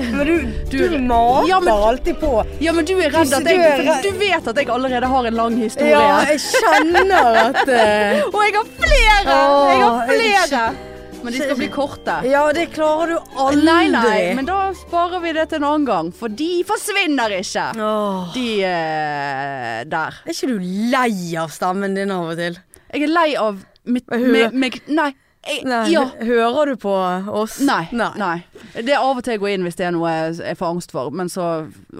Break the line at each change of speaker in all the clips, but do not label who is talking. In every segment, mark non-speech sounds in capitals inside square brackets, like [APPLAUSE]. Du,
Du mater
ja, men,
alltid på.
ja, men du er redd
Du-
at
du
jeg
er
for
redd-
Du vet at jeg allerede har en lang historie.
Ja, jeg kjenner
[LAUGHS]
at eh,
Og jeg har flere! Jeg
Åh,
har
jeg-
flere! Men de skal bli korte.
[LAUGHS] Ja, det klarer du aldri.
Nei, nei, men da sparer vi det til en annen gang, for de forsvinner ikke.
Åh,
De eh, der.
Er ikke du lei av stemmen din av og til?
Jeg er lei av mitt
Jeg hører-
meg- meg- Nei. Jeg,
Nei,
Ja.
Hører du på oss?
Nei, nei. Det er av og til jeg går inn hvis det er noe jeg jeg får angst for, men så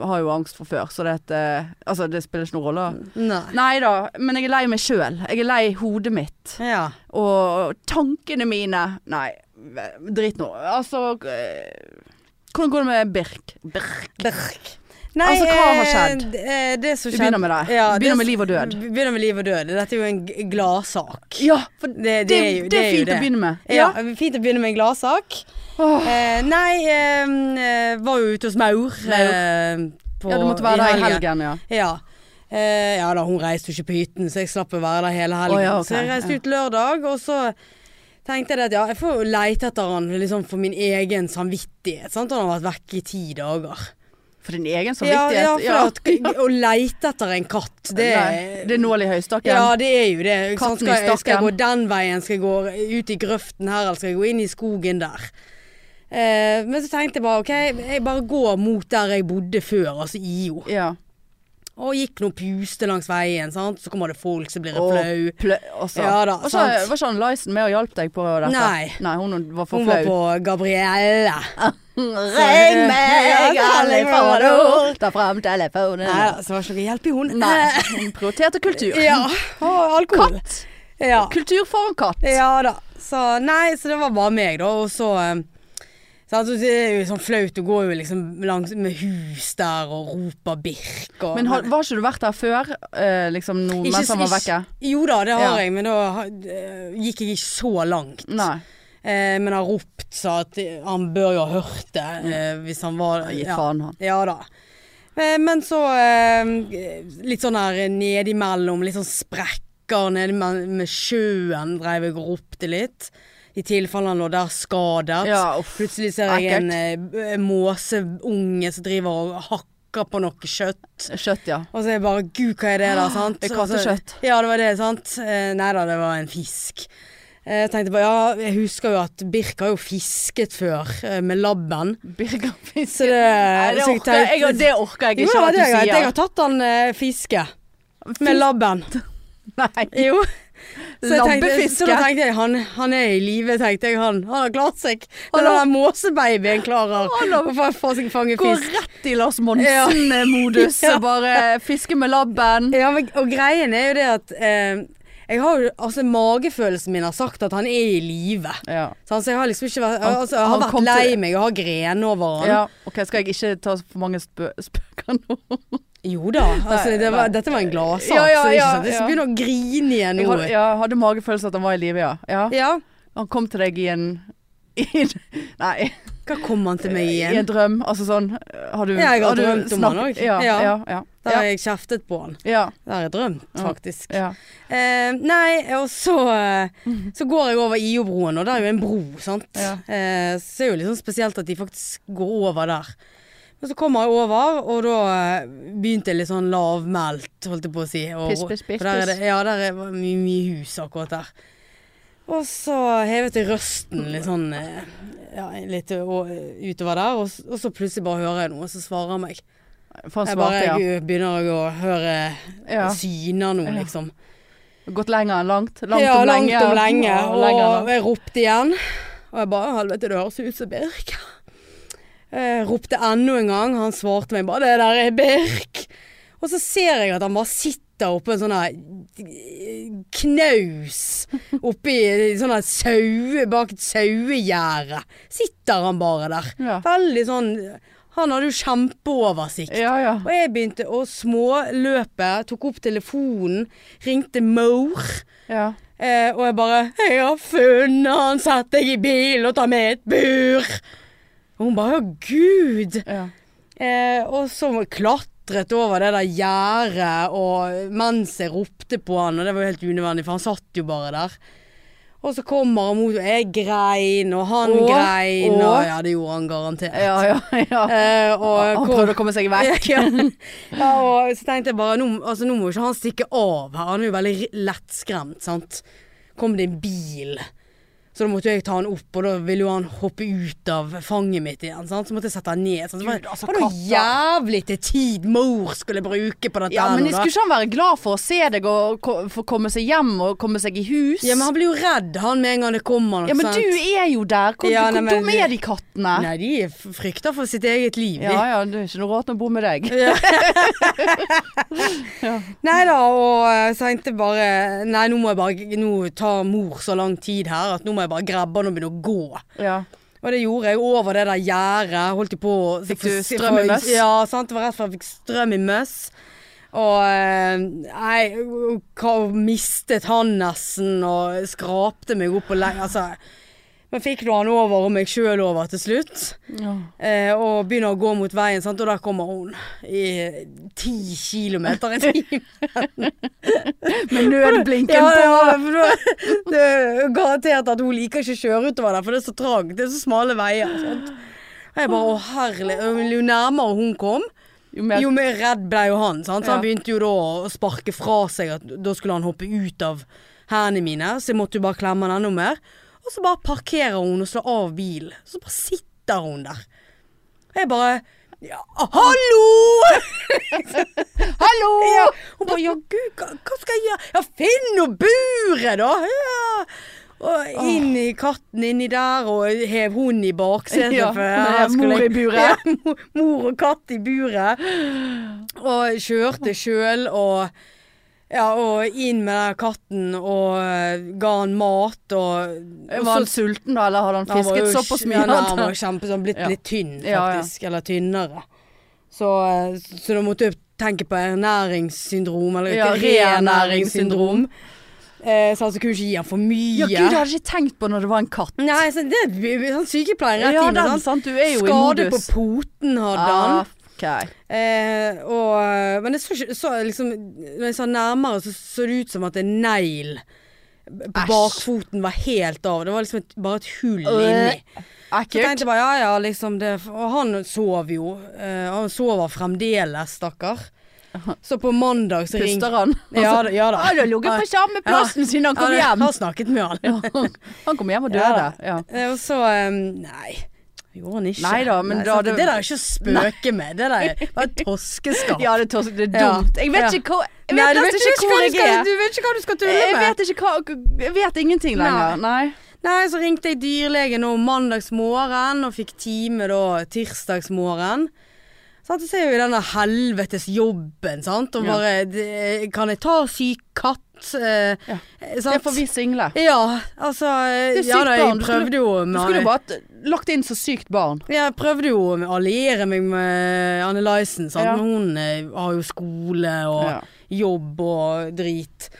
har jeg jo angst fra før, så det, at, eh, altså, det spiller ikke noen rolle.
Nei.
Nei da, men jeg er lei meg sjøl. Jeg er lei hodet mitt
Ja.
og tankene mine. Nei, drit nå. Altså eh, Hvordan går det med Birk? Birk.
Berk. Nei,
Altså, hva har skjedd?
eh, d- eh, Det som
Vi
skjedde
begynner med det. Vi begynner
det-
med liv og død.
Vi begynner med liv og død. Dette er jo en g- gladsak.
Ja, for det, det,
Det, det er jo
er
jo
fint å begynne med.
Ja. fint å begynne med en gladsak.
Åh,
Eh, nei, em, eh, var jo ute hos Maur. Eh, på,
ja, du måtte være der i
helgen.
helgen, ja.
Ja. Eh, ja da, hun reiste jo ikke på hytten, så jeg slapp å være der hele helgen.
Å, ja, ok,
Så jeg reiste
ja.
ut lørdag, og så tenkte jeg det at ja, jeg får jo leite etter han liksom for min egen samvittighet. Sant? Han har vært vekk i ti dager.
For din egen
Ja,
samvittighet.
[LAUGHS] ja, for at, å leite etter en katt, det
Nei, det er nål i høystakken.
ja, det er jo det. Ikke sant?
Katten i
skal, jeg, skal jeg
stakken.
gå den veien? Skal jeg gå ut i grøften her, eller skal jeg gå inn i skogen der? Eh, men så tenkte jeg bare OK, jeg bare går mot der jeg bodde før, altså IO.
ja.
Og gikk noen puste langs veien, sant? så kommer det folk som blir
Og
flau.
plø også.
Ja da,
og så
sant.
var ikke han Lyson med og hjalp deg på dette?
Nei.
hun var for
Hun var
flau.
på Gabrielle.
[LAUGHS] Ring meg,
Ja,
alle
ring meg,
fader, ta fram telefonen.
Nei, Eh, så var det ikke noe hjelp i hun.
Nei, hun Eh, [LAUGHS] prioriterte kultur.
[LAUGHS] Ja. Og alkohol.
Katt.
Ja.
Kultur foran katt.
Ja da. Så nei, så det var bare meg, da. Og så eh, sant, så Det er jo sånn flaut. Du går jo liksom langs med hus der og roper Birk og
Men har, var ikke du vært der før? eh, liksom nå,
Ikke-
mens han var vekke?
ikke- Jo da, det har
Ja. Mm.
jeg, men da ha- eh, gikk jeg ikke så langt.
Nei.
Eh, men har ropt, så at eh, han bør jo ha hørt det eh, hvis han var
Gi
ja.
faen, Mm. han.
sånn. Ja da. Eh, Men så eh, litt sånn her nedimellom, litt sånn sprekker nede med, med sjøen, dreiv jeg og ropte litt. I tilfelle han lå der skadet.
Ja, uff.
Plutselig ser jeg en
Ekkelt.
eh, b- måseunge som driver og hakker på noe kjøtt.
Kjøtt, ja.
Og så er jeg bare Gud, hva er det da, sant?
Ah, Det er
Og så-
kattekjøtt.
Ja, det var det, sant? Eh, Nei da, det var en fisk. Eh, Jeg tenkte bare, ja, jeg husker jo at Birk har jo fisket før eh, med labben.
Birgerfisk.
Så det,
Nei, det
så jeg
orker jeg,
tenkte-
det orker jeg
jo,
ikke
ja,
at
det
du
er greit. Jeg
sier.
har tatt den eh, fiske med labben.
Nei.
Jo. Så jeg tenkte,
Labbefiske?
så da tenkte jeg han, han er i live, tenkte jeg. Han, han har klart seg.
Han
Den
har-
der måsebabyen klarer
Han har-
å fa- få seg fange
Gå
fisk.
rett i Lars Monsen-modus
[LAUGHS] Ja.
og bare fiske med labben.
Ja, men, og greien er jo det at eh, jeg har jo, altså Magefølelsen min har sagt at han er i live.
Ja.
Så jeg har liksom ikke vært
Han-
altså, Jeg har
han
vært
kom til-
lei meg, jeg har grener over han.
Ok, skal jeg ikke ta for mange spø spøker nå?
Jo da. altså
Nei,
det var,
nei.
Dette var en gladsak,
Ja, ja,
så det er ikke
ja,
sånn at jeg
ja.
begynner å grine igjen
Jeg
nå.
hadde, ja, hadde magefølelse at han var i live, ja. ja.
Ja.
Han kom til deg i en i, [LAUGHS] en- Nei,
Hva kom han til meg
i
igjen?
en drøm. Altså sånn Har du
Ja, jeg har
du
drømt om
snakket-
han også.
Ja,
Ja.
ja, ja,
Der har
ja,
jeg kjeftet på han.
ja,
Der har jeg drømt,
Ja.
faktisk.
ja.
Eh, nei, og så,
[LAUGHS]
eh, så går jeg over IO-broen, og det er jo en bro, sant.
Ja.
Eh, så det er jo litt sånn spesielt at de faktisk går over der. Men så kommer jeg over, og da eh, begynte jeg litt sånn lavmælt, holdt jeg på å si. Og,
Piss, piss, piss,
for der er det, ja, der er mye, mye hus akkurat der. Og så hevet jeg røsten litt sånn eh, ja, litt eh, og- utover der, og, s- og så plutselig bare hører jeg noe, og så svarer han meg.
For han
Jeg
svarte,
bare
ja.
jeg begynner å høre
ja.
syner nå,
Ja.
liksom.
Gått lenger enn langt? Langt
ja,
om
langt
lenge?
om lenge.
Ja,
Og,
lenger enn langt.
jeg ropte igjen. Og jeg bare Helvete, det høres ut som Birk. Jeg ropte enda en gang. Han svarte meg bare Det der er Birk. Og så ser jeg at han bare sitter oppå en sånn her knaus oppi sånn her saue bak et sauegjerde. Sitter han bare der.
Ja.
Veldig sånn Han hadde jo kjempeoversikt.
ja, ja.
Og jeg begynte å småløpe, tok opp telefonen, ringte mor.
ja.
Eh, og jeg bare 'Jeg har funnet han, sett deg i bil og ta med et bur'. Og hun bare 'Å, gud'.
ja.
Eh, og så klatret over det der gjerdet og mens jeg ropte på han, og det var jo helt unødvendig, for han satt jo bare der. Og så kommer han mot Jeg grein, og han
Å,
grein,
å.
og ja, det gjorde han garantert.
Ja, ja,
[LAUGHS]
ja.
Eh, og
Han
hvor-
prøvde å komme seg vekk.
ja, [LAUGHS] ja, og så tenkte jeg bare, nå, altså, nå må ikke han stikke av her. Han er jo veldig r- lettskremt, sant. Kom det en bil. Så da måtte jo jeg ta han opp, og da ville jo han hoppe ut av fanget mitt igjen. Sant? Så måtte jeg sette han ned. Sant? Så var,
Gud, altså,
var det noe
katter.
jævlig til tid mor skulle bruke på dette?
Ja,
her
men
nå, da?
skulle ikke han være glad for å se deg og ko- få komme seg hjem og komme seg i hus?
ja, men han blir jo redd, han med en gang det kommer noe.
Ja, men
sant?
du er jo der. Hvor,
Ja, nei,
hvor
men-
dumme er de kattene?
Nei, de er f- frykter for sitt eget liv. de.
Ja ja, det er ikke noe rart å bo med deg.
Nei da, og eh, så tenkte jeg bare Nei, nå må jeg bare Nå tar mor så lang tid her at nå må jeg bare grabbe han og begynne å gå.
Ja.
Og det gjorde jeg over det der gjerdet. Holdt jeg på å-
Fikk du strøm i møss?
Ja, sant. Det var rett før jeg fikk strøm i møss. Og eh, nei, hva- mistet han nesten og skrapte meg opp og lenge Altså. Men fikk nå han over og meg sjøl over til slutt.
ja.
Eh, og begynner å gå mot veien, sant? og der kommer hun i ti kilometer i timen.
Med [LAUGHS] nødblinken
Ja,
på.
ja, for da- det er garantert at hun liker ikke å kjøre utover der, for det er så trangt. Det er så smale veier. Sant? Og jeg bare, å herlig. Og Jo nærmere hun kom,
Jo, mer-
jo mer redd ble jo han. Sant? Så
Ja.
han begynte jo da å sparke fra seg at da skulle han hoppe ut av hendene mine, så jeg måtte jo bare klemme han enda mer. Og så bare parkerer hun og slår av bilen. Så bare sitter hun der. Og jeg bare ja, Hallo!
Hallo!
Ja. Hun bare 'ja, gud, hva, hva skal jeg gjøre?' 'Ja, finn nå buret, da!' Ja. Og inn i katten inni der, og hev hun i baksetet.
Ja,
for her
ja,
skulle
mor
jeg-
i buret.
Ja, mo- mor og katt i buret. Og kjørte sjøl og ja, og inn med den katten og eh, ga han mat og, og
Var han sulten da, eller hadde han
han var
fisket
jo
såpass
kj-
mye?
Ja, nei,
at
han
han-
var jo kjempesånn, blitt
Ja.
litt tynn
Ja, ja.
faktisk, eller tynnere. Så, eh, så da måtte jeg tenke på ernæringssyndrom, eller
Ja,
renæringssyndrom. Eh, så altså kunne ikke gi han for mye.
Ja, gud, jeg hadde ikke tenkt på når det var en katt.
Nei, så det er sånn sykepleier rett
Ja,
inn.
den,
sant?
sant? Du er jo i
Skade på
modus. Ah.
poten hadde han.
Ok.
Eh, og, men jeg så, ikke- så liksom, når jeg så nærmere, så så det ut som at en negl på
Æsj.
bakfoten var helt av. Det var liksom et, bare et hull
Øh.
inni. Så
Ekkelt.
tenkte jeg bare, ja, ja, liksom det Og han sov jo. eh, han sover fremdeles, stakkar. Så på mandag så ringte
Puster han? [LAUGHS] Altså,
Ja da. Ja, da.
Han har ligget på samme plassen siden han
Ja,
kom
det-
hjem.
Har
[LAUGHS]
snakket med han.
Han kom hjem og
Ja
døde.
da.
Ja.
Eh, Og så eh, Nei. Gjorde han ikke.
Neida, men da
sant,
det-
det, der er ikke å spøke med. Det der er
[LAUGHS]
bare toskeskap.
Ja, det er, tos- det er
Ja.
dumt. Jeg vet
Ja.
ikke hva Jeg vet
du vet
nesten ikke hvor jeg
skal,
er.
du vet ikke hva du skal tulle med.
Jeg vet ikke hva Jeg vet ingenting lenger. Nei.
Nei, så ringte jeg dyrlegen nå mandags morgen og fikk time da tirsdags morgen. Sant, Så ser jeg jo denne helvetes jobben, sant. Og
Ja.
bare det- Kan jeg ta syk katt? Eh,
Ja. Det
Sant?
får vi single.
Ja, altså
Det er
Ja
sykt
da,
barn,
jeg
du skulle-
prøvde jo
Du skulle
med
bare t- lagt inn så sykt barn.
jeg prøvde jo å alliere meg med Anne Lysen, sant?
Ja.
men hun eh, har jo skole og
Ja.
jobb og drit.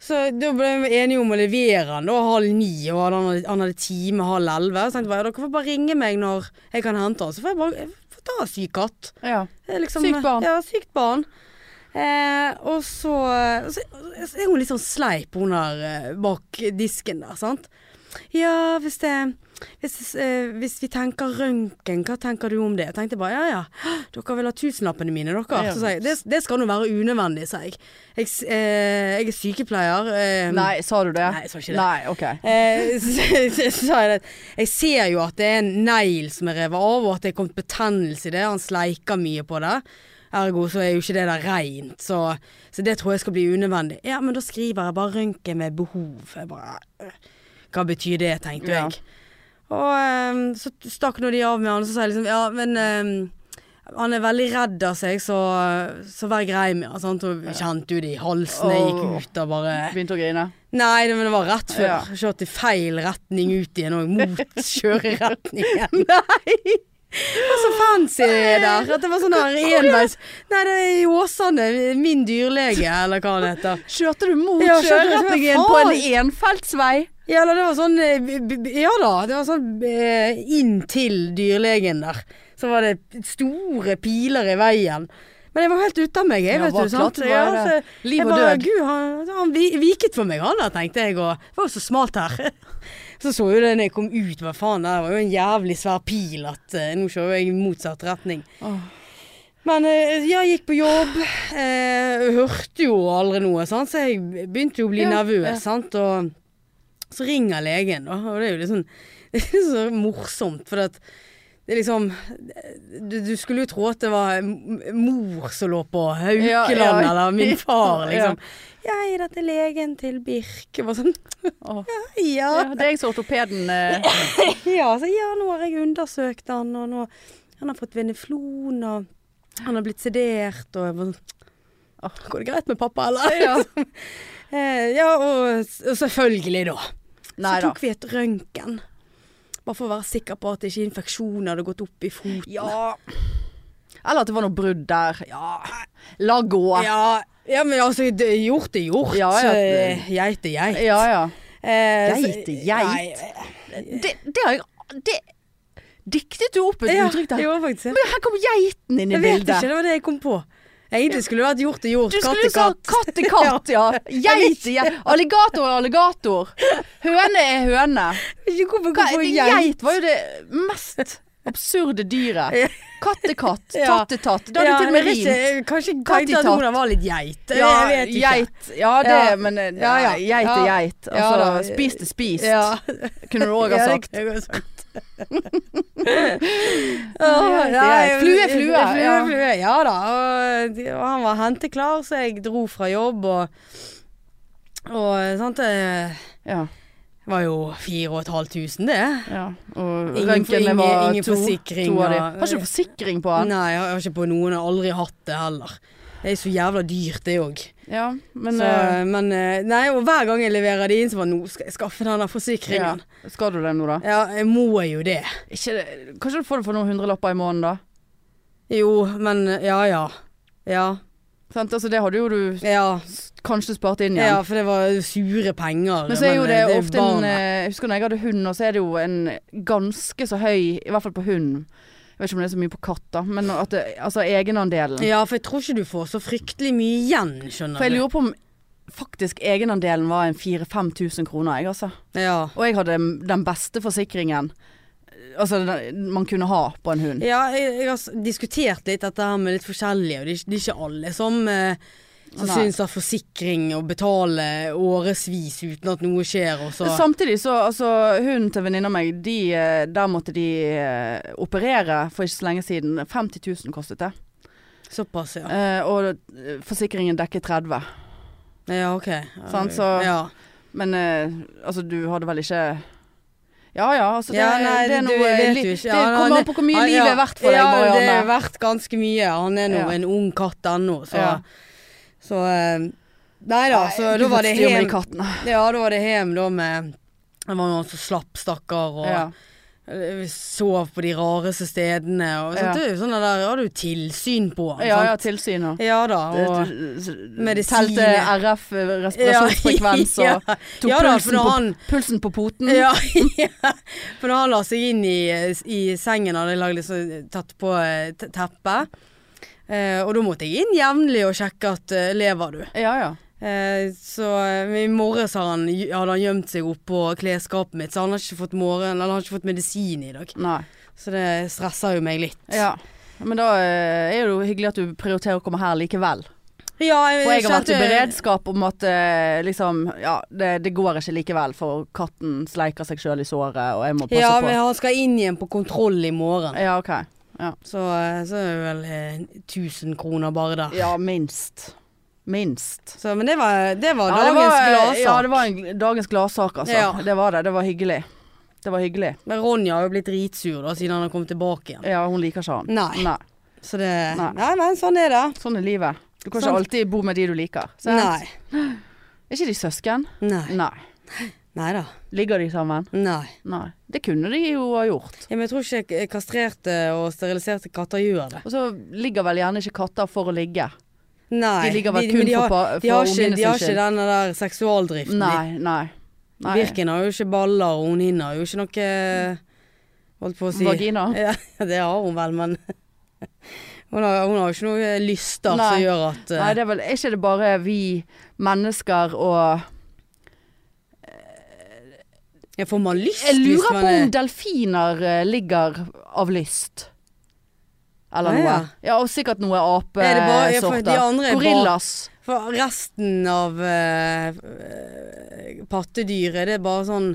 Så da ble vi enige om å levere han da halv ni, og han hadde, han hadde time halv elleve. Så tenkte jeg bare, dere får bare ringe meg når jeg kan hente han, så får jeg bare jeg får ta syk katt.
Ja.
Det er Liksom,
Sykt barn.
Ja, sykt barn. Eh, og så, så, så er hun litt sånn sleip, hun der eh, bak disken der, sant. Ja, hvis det hvis, eh, hvis vi tenker røntgen, hva tenker du om det? Jeg tenkte bare ja ja, dere vil ha tusenlappene mine, dere.
Ja.
Så sa jeg det, det skal nå være unødvendig, sa jeg. Jeg, s- eh, jeg er sykepleier. Eh,
Nei, sa du det?
Nei, jeg sa ikke det.
Nei, ok.
Eh, [LAUGHS] så, så, så sa jeg det. Jeg ser jo at det er en negl som er revet av, og at det er kommet betennelse i det. Han sleiker mye på det. Ergo så er jo ikke det der reint, så, så det tror jeg skal bli unødvendig. Ja, men da skriver jeg bare røntgen med behov. Jeg bare, øh, Hva betyr det, tenkte
Ja.
jeg. Og eh, så stakk nå de av med han, og så sa jeg liksom ja, men eh, han er veldig redd av seg, så, så vær grei med han. sant? Og kjente jo det i halsen. Jeg
Åh.
gikk ut og bare
Begynte å [LAUGHS] grine.
Nei, det, men det var rett før.
Ja.
Kjørte i feil retning ut igjen og [LAUGHS] mot kjøreretningen. Nei! Det var så fancy det der. At det var sånn der enveis Nei, det er i Åsane. Min dyrlege, eller hva det heter.
Kjørte du mot
Ja, kjørte-
kjøreretningen
Hva
på en
faen?
enfeltsvei?
Ja, eller det var sånn eh, b- b- Ja da. Det var sånn eh, inn til dyrlegen der. Så var det store piler i veien. Men Men jeg var helt ute av meg, jeg,
Ja,
vet
bare
du. sant?
klart, bare
Ja, altså,
liv
jeg
og
bare,
død.
Gud, han, altså, han vi- viket for meg, han da, tenkte jeg. Og det var jo så smalt her. [LAUGHS] Så så jo det når jeg kom ut, hva faen, det var jo en jævlig svær pil at eh, nå kjører jeg i motsatt retning.
Åh.
Men eh, jeg gikk på jobb, eh, hørte jo aldri noe, sant? så jeg begynte jo å bli
Ja,
nervøs.
ja.
Sant? Og så ringer legen, da, og det er jo litt sånn [LAUGHS] det er så morsomt. For at det er liksom du, du skulle jo tro at det var m- mor som lå på Haukeland,
Ja, ja.
eller min
[LAUGHS]
far,
Ja.
liksom. Jeg er dette legen til Birk. Jeg var sånn
Åh.
ja.
Ja, det er jeg som ortopeden eh,
Ja, så ja, nå har jeg undersøkt han, og nå han har fått veneflon, og han har blitt sedert, og jeg var sånn «Åh, Går det greit med pappa, eller?
[LAUGHS] ja.
Eh, ja, og, og selvfølgelig, da.
Nei
Så
da.
tok vi et røntgen. Bare for å være sikker på at ikke infeksjonen hadde gått opp i foten.
Ja. Eller at det var noe brudd der. Ja. La gå. Ja
ja, ja, men altså, det, gjort er gjort.
Ja, ja.
Eh, Geit er geit.
ja.
Eh, så-
Geit er geit.
Nei,
Det, det har jeg Det diktet du opp et
Ja,
uttrykk
det
der.
gjorde faktisk det.
Men her kom geiten inn i
Jeg vet
bildet.
ikke, det var det jeg kom på. Egentlig skulle det vært gjort er gjort,
Du
katt
skulle jo
er
sagt
katt.
katt
[LAUGHS]
er katt, [LAUGHS] ja. Geit er geit. Alligator er alligator. Høne er høne.
Ikke hvorfor
Hva,
hvorfor geit?
geit var jo det mest absurde
[LAUGHS]
dyret. Katt er katt,
Ja.
tatt er tatt. Det hadde til og med
jeg vet
rimt.
ikke, Kanskje jeg
Katt i
tenkte at
tatt.
Oda var litt geit.
Ja,
jeg vet ikke.
geit. Ja, det,
Ja.
men eh,
Ja, ja.
geit er
Ja.
geit.
Ja,
Altså,
da.
spis er spist,
Ja,
[LAUGHS] kunne du òg ha
ja,
sagt.
det kunne jeg
[LAUGHS]
sagt.
Geit er geit. Flue er flue,
Flue,
ja.
er flue. Ja da. Og, de- og han var henteklar, så jeg dro fra jobb og Og sant Det
Ja.
var jo 4500, det.
ja. Og
Ingen-
røntgenene
ingen-
var
ingen
to,
forsikring
to av de.
og-
Har ikke du forsikring på den?
Nei, jeg har ikke på noen. Jeg har aldri hatt det heller. Det er så jævla dyrt, det òg.
Ja, men
Men,
eh,
men eh, Nei, og hver gang jeg leverer de inn, så bare nå skal jeg skaffe den der forsikringen.
ja. Skal du det nå, da?
Ja, jeg må jo det.
Ikke, det- kanskje du får det for noen hundrelapper i måneden, da?
Jo, men eh, ja ja. Ja.
Sant? Altså, det hadde jo du
Ja,
s- kanskje spart inn igjen.
ja for det var jo sure penger.
Men så er jo det,
eh, er
ofte en
barnet.
eh, Jeg husker når jeg hadde hund, og så er det jo en ganske så høy I hvert fall på hund. Jeg vet ikke om det er så mye på katt, da, men at det, altså egenandelen.
Ja, for jeg tror ikke du får så fryktelig mye igjen, skjønner
For jeg lurer på om faktisk egenandelen var en 4000-5000 kroner, jeg altså.
du. Ja.
Og jeg hadde den beste forsikringen altså, den, man kunne ha på en hund.
Ja, jeg, jeg har s- diskutert litt dette her med litt forskjellige, og det er, ikke- det er ikke alle som, eh, som
Nei.
syns at forsikring og betale årevis uten at noe skjer, og så
Samtidig så, altså Hunden til venninna meg, de, eh, der måtte de eh, operere for ikke så lenge siden. 50 000 kostet det.
Såpass, ja.
Eh, og eh, forsikringen dekket 30
Ja, OK. Ja,
Sant, Sånn, så-
ja.
Men eh, altså, du hadde vel ikke Ja ja, altså det,
Ja, nei,
det er
du
noe
vet
li-
jo ikke.
Det
Ja, nei,
kommer an på hvor mye
Ja,
livet
ja.
er verdt for
ja,
deg,
det er
Marianne.
verdt ganske mye. Han er nå
Ja.
en ung katt ennå, så
Ja.
Så eh, Nei da, så
Nei,
altså. da var det
Du får styre med
hjem.
de kattene.
Ja, da var det hjem da med Det var noen som slapp, stakkar, og
Ja.
Eh, Sov på de rareste stedene og sånt.
Ja.
Det er jo sånn at der har du tilsyn på.
ja ja,
sant? eh,
tilsyn og
ja da. Og,
Medisin.
Medisin.
Telte RF-respirasjonsfrekvens
Ja. [LAUGHS]
og tok
ja da, for
pulsen,
når
på,
han
pulsen på poten.
[LAUGHS] ja, ja. For når han la seg inn i, i sengen, hadde jeg lagd liksom, tatt på eh, te- teppet. Eh, og da måtte jeg inn jevnlig og sjekke at eh, lever du.
Ja, ja.
Eh, så eh, i morges har han, hadde han gjemt seg oppå klesskapet mitt, så han har ikke fått, morgen, han har ikke fått medisin i dag.
Nei.
Så det stresser jo meg litt.
Ja. Men da eh, er det jo hyggelig at du prioriterer å komme her likevel.
Ja,
For jeg har vært i
kjente-
beredskap om at eh, liksom Ja, det, det går ikke likevel, for katten sleiker seg sjøl i såret, og jeg må passe
Ja,
på. Eh.
men han skal inn igjen på kontroll i morgen.
Ja, ok.
Så, eh, så er det vel eh, 1000 kroner bare der.
Ja, minst. Minst.
Så, men det var, det var
ja, det
dagens
var, eh,
gladsak.
Ja, det var en gl- dagens gladsak, altså.
Ja.
Det var det. Det var hyggelig. Det var hyggelig.
Men Ronja har jo blitt dritsur da, siden han har kommet tilbake igjen.
Ja, hun liker ikke han.
Nei.
Nei.
Så det
Eh. Nei.
Nei, men sånn er det.
Sånn er livet. Du kan
Sant.
ikke alltid bo med de du liker. sant?
Nei.
Er ikke de søsken?
Nei.
Nei.
Nei da.
Ligger de sammen?
Nei.
Nei. Det kunne de jo ha gjort.
Ja, men jeg tror ikke k- kastrerte og steriliserte katter gjør det.
Og så ligger vel gjerne ikke katter for å ligge.
Nei.
De ligger vel
men
kun
de har-
for, pa-
de har
for
ikke,
ungene
de har
sin
ikke
skyld.
denne der seksualdriften.
Nei, nei. nei. Mm.
Birken har jo ikke baller, og hun hinner jo ikke noe Holdt på å si
Vagina.
Ja, det har hun vel, men [LAUGHS] Hun har, hun har jo ikke noe lyster som
Nei.
gjør at eh,
Nei, det er vel er ikke det bare vi mennesker og
Ja, får man lyst
Jeg lurer
hvis
på
man
om delfiner eh, ligger av lyst. Eller
Ah,
noe.
ja.
Ja, og sikkert noe
Er det bare- ja, for de
apesorter.
andre er bare-
Gorillas.
For resten av eh, eh, pattedyret, det er bare sånn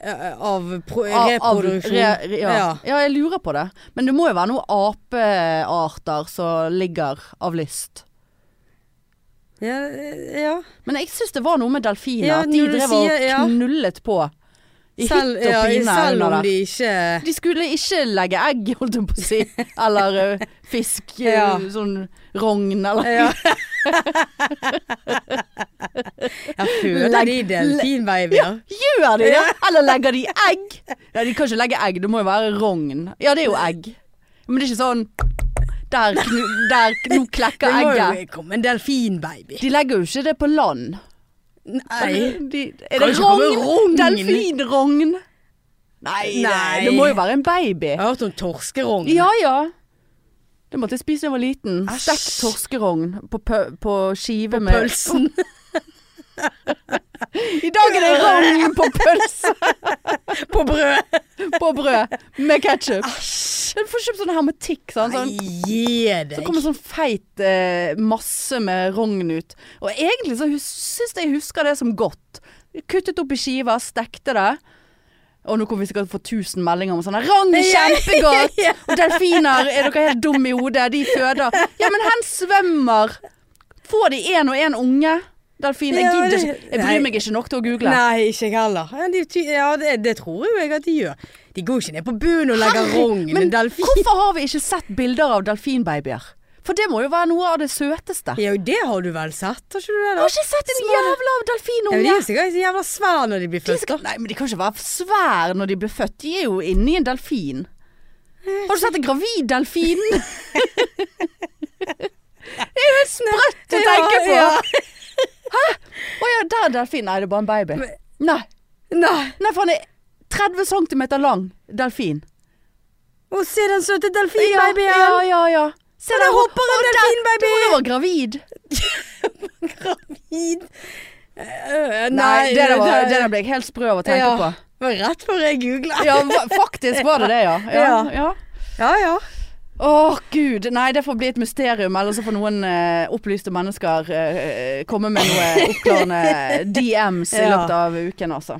eh, av pro
Av- av-
reproduksjon.
re- re- ja. Ja.
Ja.
jeg lurer på det. Men det må jo være noen apearter som ligger av lyst.
Ja, eh, ja.
Men jeg syns det var noe med delfiner.
Ja,
at de
når du
drev
sier-
og
ja.
knullet på. I
Selv,
hytt
ja,
og pine.
selv om
under
de
der.
ikke
De skulle ikke legge egg, holdt jeg på å si.
[LAUGHS]
Eller eh, fisk. eh,
Ja.
Sånn rogn eller
ja. [LAUGHS] Jeg føler de
Legg-
delfinbabyer.
Gjør de det? Eller legger de egg? Ja, de kan ikke legge egg, det må jo være rogn. Ja, det er jo egg. Men det er ikke sånn Der, knu, der nå
Det
klekker
må
egget.
jo komme en delfinbaby.
De legger jo ikke det på land.
Nei.
De, er det
Kan ikke komme
rogn?
rogn.
Delfinrogn? Nei,
Nei.
Det, det må jo være en baby.
Jeg har hørt om torskerogn.
Ja ja. Det måtte jeg spise da jeg var liten.
Æsj.
Stekt torskerogn på, pø- på skive med
Pølsen.
[LAUGHS] I dag er
[LAUGHS]
det rogn på pølse!
På brød.
på brød med ketsjup. Du får kjøpt sånn hermetikk. Sånn,
Nei,
sånn.
gi
Så
deg.
kommer sånn feit eh, masse med rogn ut. Og egentlig så hus- syns jeg jeg husker det som godt. Kuttet opp i skiver, stekte det. Og nå kommer vi sikkert til å få 1000 meldinger om sånn her,
[LAUGHS]
Rogn er kjempegodt! Og delfiner, er dere helt dumme i hodet? De føder. Ja, men hen svømmer! Får de én og én unge? Delfiner. Jeg
Ja,
gidder
det-
ikke. Jeg bryr
nei.
meg ikke nok til å google.
Nei, ikke jeg heller. Ja, de, ty- ja det, det tror jo jeg at de gjør. De går ikke ned på bunnen og legger
Herre-
rogn
Men
med delfin.
hvorfor har vi ikke sett bilder av delfinbabyer? For det må jo være noe av det søteste.
Ja, jo, det har du vel sett, har ikke du det?
Jeg
da?
har ikke sett en jævla
Ja, men
delfinunge!
de er jo sikkert så jævla svære når de blir
De
født.
skal, nei, men de kan ikke være svære når de blir født. De er jo inni en delfin. Har du sett en gravid [LAUGHS] delfin? det er jo helt sprøtt å
Ja,
tenke på!
ja.
Hæ? Å ja, der er delfin. Nei, det er bare en baby.
Men-
Nei,
Nei,
[LAUGHS] nei for han er 30 cm lang delfin.
å se den søte
Ja,
delfinbabyen!
ja, ja, ja. Se
Men
der
det hopper en
Å, der-
delfinbaby!
Du var gravid.
Gravid. Eh,
Nei, det, der var, det der ble jeg helt sprø av å tenke
ja,
på.
Det var rett før jeg googla.
Ja, va- faktisk var det det, ja. ja,
Ja.
ja.
ja, ja.
Å gud, nei det får bli et mysterium, eller så får noen eh, opplyste mennesker eh, komme med
[LAUGHS]
noe oppklarende DMs i
Ja.
løpet av uken, altså.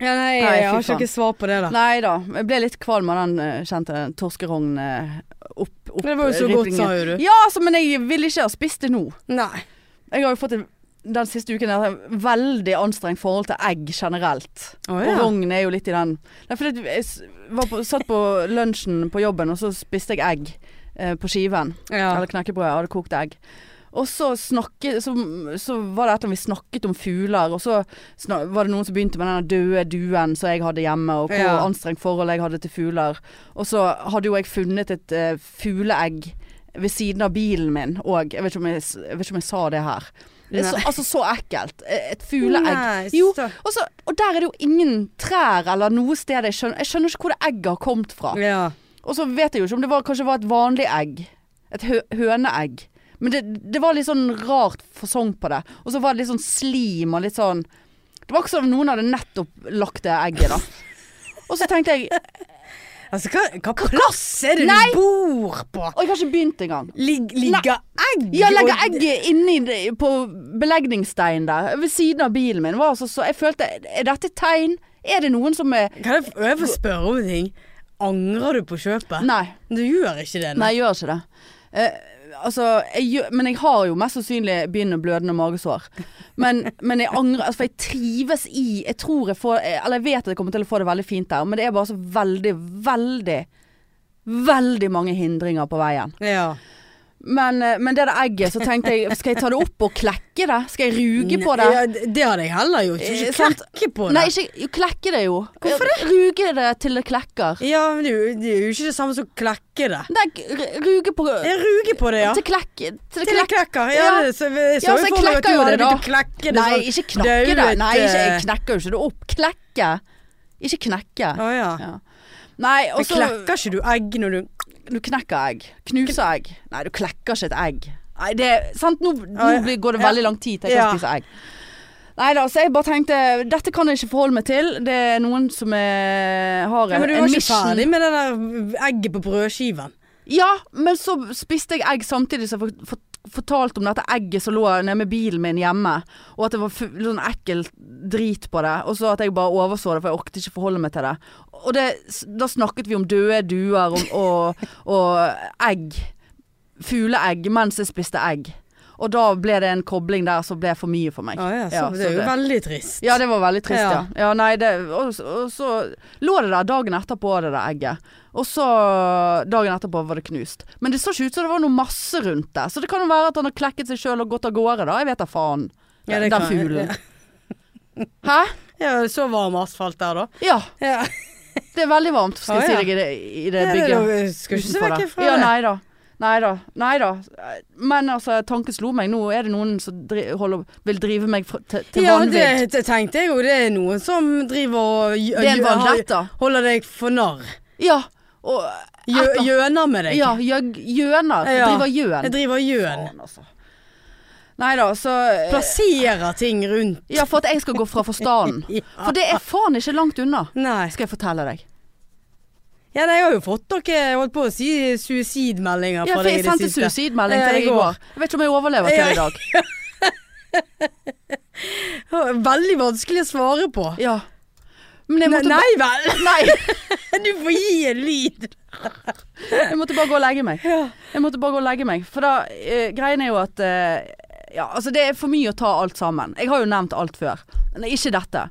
ja nei,
Nei, fy
jeg har
faen.
ikke noe svar på det, da.
Nei da, jeg ble litt kvalm av den eh, kjente torskerogn eh, opp, opp
Men det var jo så godt,
rippingen.
sa jo du.
Ja, altså, men jeg ville ikke ha spist det nå.
Nei.
Jeg har jo fått en, den siste uken et veldig anstrengt forhold til egg generelt.
Å
Og rogn er jo litt i den Nei, for det, jeg s- var på, satt på lunsjen på jobben, og så spiste jeg egg eh, på skiven.
ja.
Eller knekkebrød. Jeg hadde kokt egg. Og så, snakke, så, så var det et eller annet vi snakket om fugler, og så sna- var det noen som begynte med den døde duen som jeg hadde hjemme, og hvor
Ja.
anstrengt forhold jeg hadde til fugler. Og så hadde jo jeg funnet et eh, fugleegg ved siden av bilen min òg. Jeg, vet ikke om jeg s- jeg vet ikke om jeg sa det her. Det er så,
Nei.
altså så ekkelt. Eh, Et fugleegg.
Nei,
Jo,
stakkars.
og, så, og der er det jo ingen trær eller noe sted jeg skjønner, jeg skjønner ikke hvor det egget har kommet fra.
Ja.
Og så vet jeg jo ikke om det var, kanskje var et vanlig egg. Et hø høneegg. Men det, det var litt sånn rart fasong på det. Og så var det litt sånn slim og litt sånn Det var ikke som om noen hadde nettopp lagt det egget, da. Og så tenkte jeg Og
Altså, hva, hva plass er det
Nei.
du bor på?
jeg har ikke begynt engang.
Lig, ligger egg?
Ja, legge
og-
egget inni det- på belegningssteinen der, ved siden av bilen min. Var altså så, jeg følte Er dette et tegn? Er det noen som er
Kan jeg, f- jeg få spørre om en ting? Angrer du på kjøpet?
Nei.
Du gjør ikke det?
Nei, jeg gjør ikke det. Eh, altså, jeg gjør, men jeg har jo mest sannsynlig begynnende blødende magesår. Men, men jeg angrer altså, For jeg trives i Jeg tror jeg får eh, Eller jeg vet at jeg kommer til å få det veldig fint der, men det er bare så veldig, veldig Veldig mange hindringer på veien.
Ja.
Men, eh, men det der egget, så tenkte jeg Skal jeg ta det opp og klekke det? Skal jeg ruge på det?
Ja, det det hadde jeg heller gjort.
Eh,
Ikke
sant?
klekke på det.
Nei, ikke klekke det, jo. Hvorfor det? Ruge det til det klekker.
Ja, men det er jo- det er jo ikke det samme som klekke det.
Nei, r- ruge på
Jeg ruger på det, ja.
Til klekke. Til
Til
det
det klekker. Ja,
Ja.
det, så, jeg så,
Ja,
jo
så jeg
for meg at
klekker
du
jo
hadde
det da.
begynt å Klekke det,
Nei,
sånn
ikke knakke det.
dauet,
Nei, ikke, jeg
eh,
knekker jo ikke det opp. Klekke. Ikke knekke.
Å ja.
Ja. Nei, og
Men
så
klekker ikke du egg når du
Du knekker egg. Knuser egg. Nei, du klekker ikke et egg. Nei, det er sant, nå, nå
Ja,
blir- går det
ja.
veldig lang tid til jeg kan
Ja.
spise egg. Nei da, så jeg bare tenkte Dette kan jeg ikke forholde meg til. Det er noen som er, har
Ja,
en,
men du
en
var ikke
mission.
ferdig med det der egget på brødskiven.
Ja, men så spiste jeg egg samtidig som jeg for- for- fortalte om dette egget som lå nede med bilen min hjemme. Og at det var fu- sånn ekkel drit på det. Og så at jeg bare overså det, for jeg orket ikke forholde meg til det. Og det, da snakket vi om døde duer og, og, [LAUGHS] og egg. Fugleegg mens jeg spiste egg. Og da ble det en kobling der som ble for mye for meg.
Ja, ja, så,
Ja,
det
så
er jo
det-
veldig trist.
Ja, det var veldig trist, ja.
Ja.
ja. nei, det, og, og så lå det der dagen etterpå, det der egget. Og så dagen etterpå var det knust. Men det så ikke ut som det var noe masse rundt det. Så det kan jo være at han har klekket seg sjøl og gått av gårde, da. Jeg vet da faen.
Ja,
den
det
den
kan-
fuglen. Hæ?
Ja, så varm asfalt der, da.
Ja.
Ja.
Det er veldig varmt, skal
Å,
jeg
ja.
si deg, i det, i det
Ja,
bygget.
[LAUGHS] det- det- Skal ikke se
utenfor
vekk
det.
ifra
Ja,
det.
nei da. Nei da. Nei da. Men altså, tanken slo meg. Nå er det noen som dri holder, vil drive meg fra, til, til
ja,
vanvidd.
det, det tenkte jeg jo. Det er noen som driver og gj-
Det er en
har-
vendetta.
holder deg for narr.
Ja. Og
Gjø- Gjøner med deg.
Ja, gjøg, gjøner.
Ja.
Driver
Jeg
gjøn.
driver gjøn.
Faen, altså. Nei da, så eh,
Plasserer ting rundt.
Ja, for at jeg skal gå fra
[LAUGHS]
forstanden. For det er faen ikke langt unna,
Nei.
skal jeg fortelle deg.
Ja, nei, jeg har jo fått dere holdt på å si
Ja,
suicidmeldinger fra
for
deg
jeg
i det
sendte
siste.
suicidmelding
Ja,
til
i
deg i
går.
går. Jeg vet ikke om jeg overlever til
Ja.
i dag.
Veldig vanskelig å svare på.
Ja. Men jeg
Nei,
måtte,
nei vel!
ba- [LAUGHS] nei,
[LAUGHS] Du får gi en lyd.
jeg måtte bare gå og legge meg.
Ja.
Jeg måtte bare gå og legge meg. For da, eh, greien er jo at eh, Ja, altså det er for mye å ta alt sammen. Jeg har jo nevnt alt før. Men ikke dette.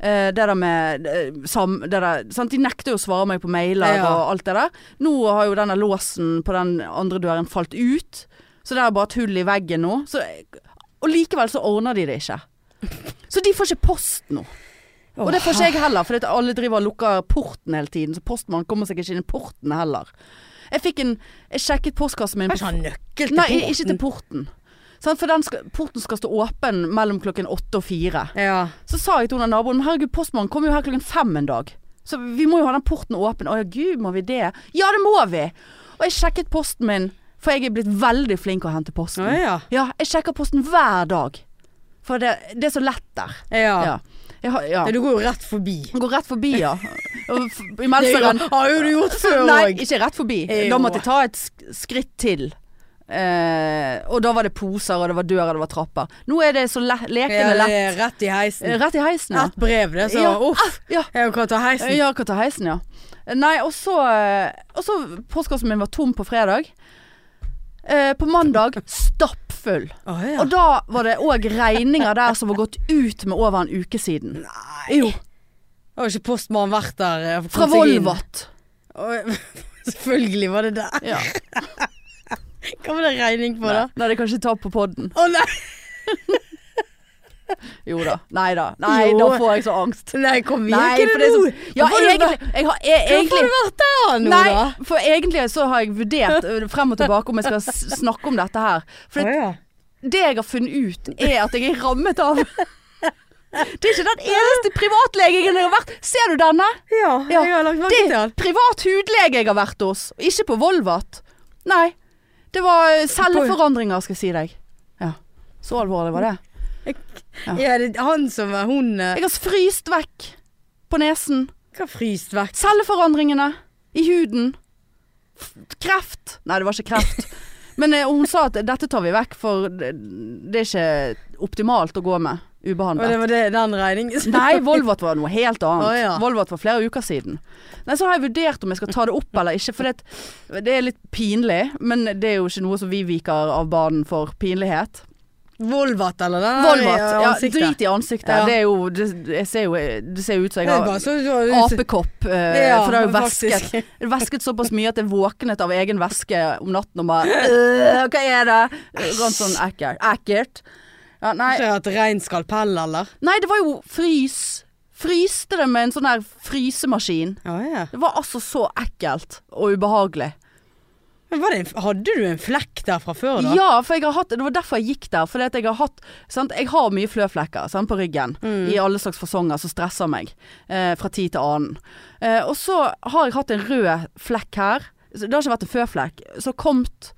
Eh, det der med eh, sam, det der, sant? De nekter jo å svare meg på mailer
Ja.
og alt det der. Nå har jo denne låsen på den andre døren falt ut. Så det er bare et hull i veggen nå. Så, eh, og likevel så ordner de det ikke. Så de får ikke post nå. Og det får ikke jeg heller, for alle driver og lukker porten hele tiden. Så postmannen kommer seg ikke inn i porten heller. Jeg fikk en Jeg sjekket postkassen min
Kanskje han nøkkel til
Nei,
porten?
ikke til porten. Sant, for den skal, porten skal stå åpen mellom klokken åtte og fire.
Ja.
Så sa jeg til hun av naboen Men herregud, postmannen kom jo her klokken fem en dag. Så vi må jo ha den porten åpen. Å ja, gud, må vi det? Ja, det må vi! Og jeg sjekket posten min, for jeg er blitt veldig flink å hente posten.
Å ja.
Ja, jeg sjekker posten hver dag. For det, det er så lett der.
Ja.
Ja. Jeg har, ja.
Ja, Du går jo rett forbi.
Jeg Går rett forbi, [LAUGHS] ja. Og f- I
Det
menseren
har jo du gjort før
Altså, Nei,
òg.
ikke rett forbi.
Jo.
Da måtte jeg ta et sk- skritt til. Eh, og da var det poser, og det var dører, og det var trapper. Nå er det så le lekende
Ja,
lett.
det er rett i heisen.
Eh, Rett i heisen, ja.
Ett brev, det, så
Ja,
uff.
ja.
Jeg kan ta heisen.
Ja, kan ta heisen, ja. Nei, og så eh, Og så Postkassen min var tom på fredag. Eh, på mandag stappfull.
Å, ja.
Og da var det òg regninger der som var gått ut med over en uke siden.
Nei.
Jo.
Har ikke postmannen vært der? eh,
Fra
kom seg inn?
Volvat.
Å, [LAUGHS] Selvfølgelig var det der.
Ja.
Hva var det regning på, da?
Nei, nei, det kan jeg ikke ta på podden.
Å nei.
Jo da. Nei da. Nei,
Jo.
da får jeg så angst.
nei, kom igjen.
Nei,
Hva er
for
det
det er
nå?
så- Ja,
Hvorfor har du
egentlig, jeg har jeg,
vært- Hvorfor har
egentlig
du vært der nå, da?
Nei, for egentlig så har jeg
[LAUGHS]
vurdert ø, frem og tilbake om jeg skal s- snakke om dette her. For det,
Å, ja.
det jeg har funnet ut, er at jeg er rammet av Det er ikke den eneste privatlegen jeg har vært Ser du denne?
ja,
Ja,
jeg har lagt merke
Det
til
er
han.
privat hudlege jeg har vært hos. Ikke på Volvat. Nei. Det var ø, celleforandringer, skal jeg si deg. Ja. Så alvorlig var det. Ja.
Ja, det er han som er hun eh,
Jeg har fryst vekk på nesen.
Hva fryst vekk?
Celleforandringene i huden. F- Kreft. Nei, det var ikke
[LAUGHS]
kreft. Men eh, hun sa at dette tar vi vekk, for det det er ikke optimalt å gå med
Og det
ubehandlet.
var det, den regningen?
Nei, [LAUGHS] Volvat var noe helt annet.
Å, ja.
Volvat var flere uker siden. Nei, Så har jeg vurdert om jeg skal ta det opp eller ikke, for det, det er litt pinlig. Men det er jo ikke noe som vi viker av banen for pinlighet.
[LAUGHS] Volvat, eller den?
Volvat.
eh,
Ja,
ansiktet.
drit i ansiktet.
Ja.
Det er jo det, jeg ser jo det ser jo ut som jeg
Det er
har
bare så, så,
apekopp, eh,
Ja,
for det er jo
faktisk.
væsket. Det væsket såpass mye at jeg våknet av egen væske om natten og bare «Øh, Hva er det? Rant sånn ekkelt. Ekkelt. Ja, nei.
Ikke hatt rein skalpell, eller?
nei, det var jo frys. Fryste det med en sånn her frysemaskin.
Ja, ja.
Det var altså så ekkelt og ubehagelig.
Men var det en, hadde du en flekk der fra før, da?
Ja, for jeg har hatt, det var derfor jeg gikk der. Fordi at jeg har hatt sant? Jeg har mye fløflekker sant? på ryggen i alle slags fasonger som stresser meg eh, fra tid til annen. Eh, og så har jeg hatt en rød flekk her så Det har ikke vært en føflekk. Så komt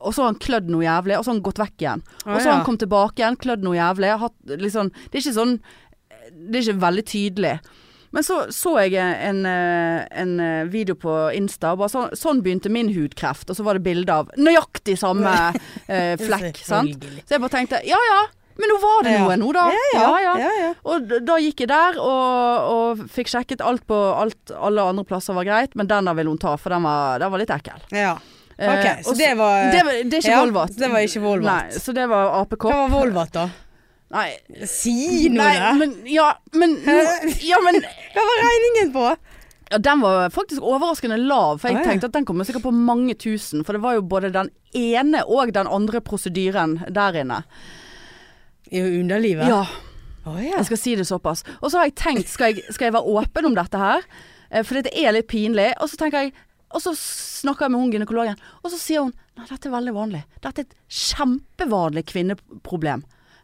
og så har han klødd noe jævlig, og så har han gått vekk igjen. Og
Å,
så har
ja.
han kommet tilbake igjen, klødd noe jævlig. Hatt, litt sånn- det er ikke sånn Det er ikke veldig tydelig. Men så så jeg en, eh, en eh, video på Insta, og bare sånn, sånn begynte min hudkreft. Og så var det bilde av nøyaktig
[LAUGHS]
samme eh, flekk. sant?
Selvfølgelig.
Så jeg bare tenkte ja ja, men nå var det
Ja.
noe nå da.
Ja, ja. ja, ja.
Og d- da gikk jeg der og, og fikk sjekket alt på alt alle andre plasser var greit, men den der ville hun ta, for den var, den var litt ekkel.
ja.
Eh,
Ok, så
og
det var
det, var, det er ikke
ja,
Volvat.
det var ikke Volvat.
Nei, så det var
Hva
apekopp.
var Volvat, da?
Nei,
Si noe,
nei
da!
men Ja, men,
[LAUGHS]
nå- ja, men
Hva var regningen på?
ja, Den var faktisk overraskende lav, for
Å,
jeg
ja.
tenkte at den kommer sikkert på mange tusen. For det var jo både den ene og den andre prosedyren der inne.
I underlivet?
Ja,
Å, ja.
jeg skal si det såpass. Og så har jeg tenkt, skal jeg, skal jeg være åpen om dette her? Eh, For det er litt pinlig. Og så tenker jeg og så snakker jeg med hun gynekologen, og så sier hun Nei, dette er veldig vanlig. Dette er et kjempevanlig kvinneproblem.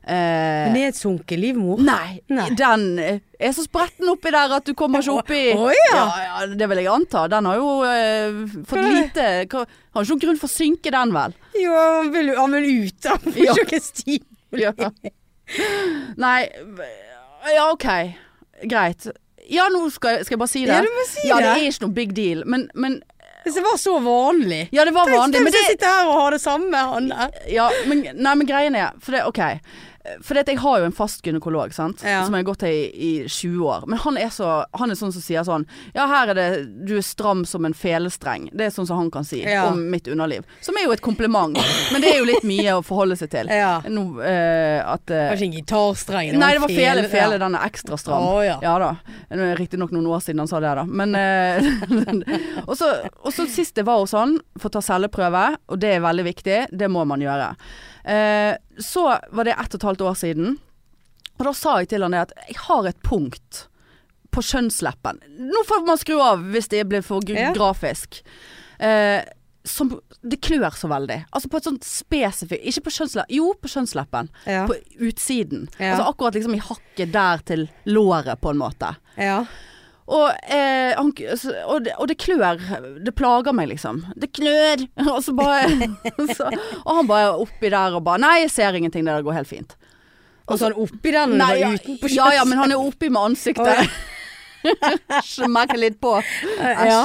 Eh,
Nedsunket livmor?
Nei,
Nei.
den eh, er så spretten oppi der at du kommer ikke oppi
Å, å, ja.
ja, Det vil jeg anta. Den har jo eh, fått
Hva er det?
lite hva, Har ikke noen grunn for å synke, den vel?
Jo, han vil, han vil ut. Han får
Ja.
ikke sti.
Ja. Nei Ja, OK. Greit. Ja, nå skal, jeg- skal jeg bare si det.
Ja, du må si
Ja, det
det.
er ikke noe big deal, men, men
Hvis det var så vanlig.
Ja, det var vanlig. Men
Hvem
det,
som sitter her og har det samme, han der?
ja, men, nei, men greien er For det, ok For det at jeg har jo en fast gynekolog sant?
Ja.
Som jeg har gått til i, i 20 år Men han er, så, han er sånn som sier sånn Ja, her er det Du er stram som en felestreng Det er sånn som han kan si
Ja.
Om mitt underliv Som er jo et kompliment Men det er jo litt mye å forholde seg til
Ja.
Nå, eh, at, eh,
Kanskje en gitarstreng?
Nei, det var fele, fele
da.
Den er ekstra stram
Å, ja.
ja da. Nå er det Riktignok noen år siden han sa det, da. Men eh, [LAUGHS] Og så og så sist det var hos han, for å ta celleprøve, og det er veldig viktig, det må man gjøre. Eh, så var det ett og et halvt år siden, og da sa jeg til han det at jeg har et punkt på kjønnsleppen. Nå får man skru av hvis det blir for gr
Ja.
grafisk. Eh, som Det klør så veldig. Altså på et sånt spesifikt Ikke på kjønnsleppen. Jo, på kjønnsleppen.
Ja.
På utsiden.
Ja.
Altså akkurat liksom i hakket der til låret, på en måte.
Ja.
Og, eh, han, så- og, det, og det klør. Det plager meg, liksom. Det klør! [LAUGHS] Og så bare [LAUGHS] så, Og han bare oppi der og bare Nei, jeg ser ingenting, det der går helt fint.
Og så han sånn oppi den når
Altså- Nei, ja,
du var utenpå
ja, ja, men han er oppi med ansiktet. [LAUGHS] Merker litt på. Æsj.
Ja.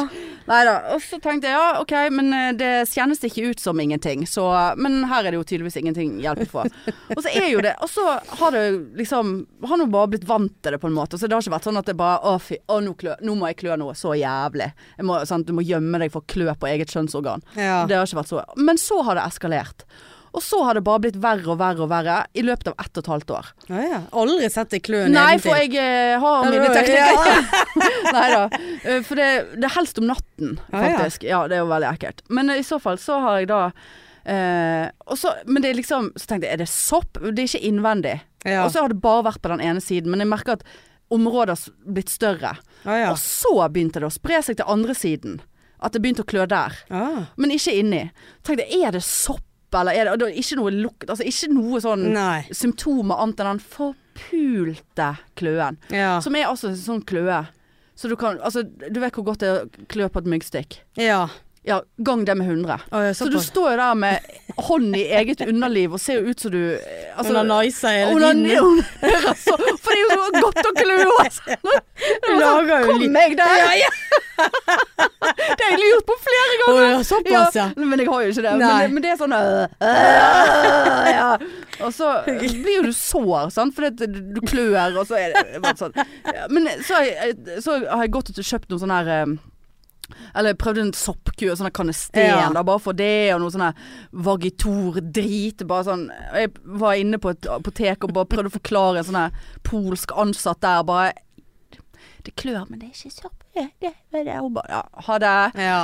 Nei da. Og så tenkte jeg ja, OK, men eh, det kjennes ikke ut som ingenting. Så, men her er det jo tydeligvis ingenting hjelp å få. Og så er jo det Og så har det liksom Har nå bare blitt vant til det på en måte. Så det har ikke vært sånn at det bare Å, fy, å, nå, klø, nå må jeg klø noe så jævlig. Jeg må, sant, du må gjemme deg for klø på eget kjønnsorgan.
Ja.
Det har ikke vært så Men så har det eskalert. Og så har det bare blitt verre og verre og verre i løpet av ett og et halvt år.
Å, ja. Aldri sett det klø nedentil.
Nei, for jeg eh, har
Ja,
mine
det var-
teknikker. [LAUGHS] Nei da. Eh, For det, det er helst om natten,
Ah, ja.
faktisk. Ja, det er jo veldig ekkelt. Men eh, i så fall så har jeg da eh, og så, Men det er liksom Så tenkte jeg, er det sopp? Det er ikke innvendig.
Ja.
Og så har det bare vært på den ene siden. Men jeg merker at området har s- blitt større.
Å, ja.
Og så begynte det å spre seg til andre siden. At det begynte å klø der.
Ah.
Men ikke inni. Tenkte jeg, er det sopp? Eller er det, og det er ikke noe lukt Altså ikke noe sånn
Nei.
symptomer annet enn den forpulte kløen.
Ja.
Som er altså en sånn kløe. Så du kan Altså, du vet hvor godt det er å klø på et myggstikk.
ja.
Ja, gang det med 100.
Å, ja
Så du
såpass.
står jo der med hånd i eget underliv og ser jo ut som du eh, altså,
Hun har nicer hele
Hun har-
tiden.
hun- altså, For det er jo så godt å klø altså.
Hun lager jo
Kom
litt
meg der!
ja.
Det har jeg lurt på flere
Å,
ganger.
ja, såpass, ja.
Men jeg har jo ikke det.
Nei.
Men, men det er sånn øh, øh, ja. Og så blir jo du sår, sant. Fordi at du- du klør, og så er det bare sånn. Ja, Men så har jeg, så har jeg gått og kjøpt noe sånn her eh, eller prøvd en soppkur, sånn her kanesten,
Ja.
da, bare for det, og noe sånn her vagitor-drit. Bare sånn Jeg var inne på et apotek og bare prøvde å forklare en sånn her polsk ansatt der, bare Det klør, men det er ikke sopp. Det, det, det, det. Hun bare Ja, ha det.
Ja.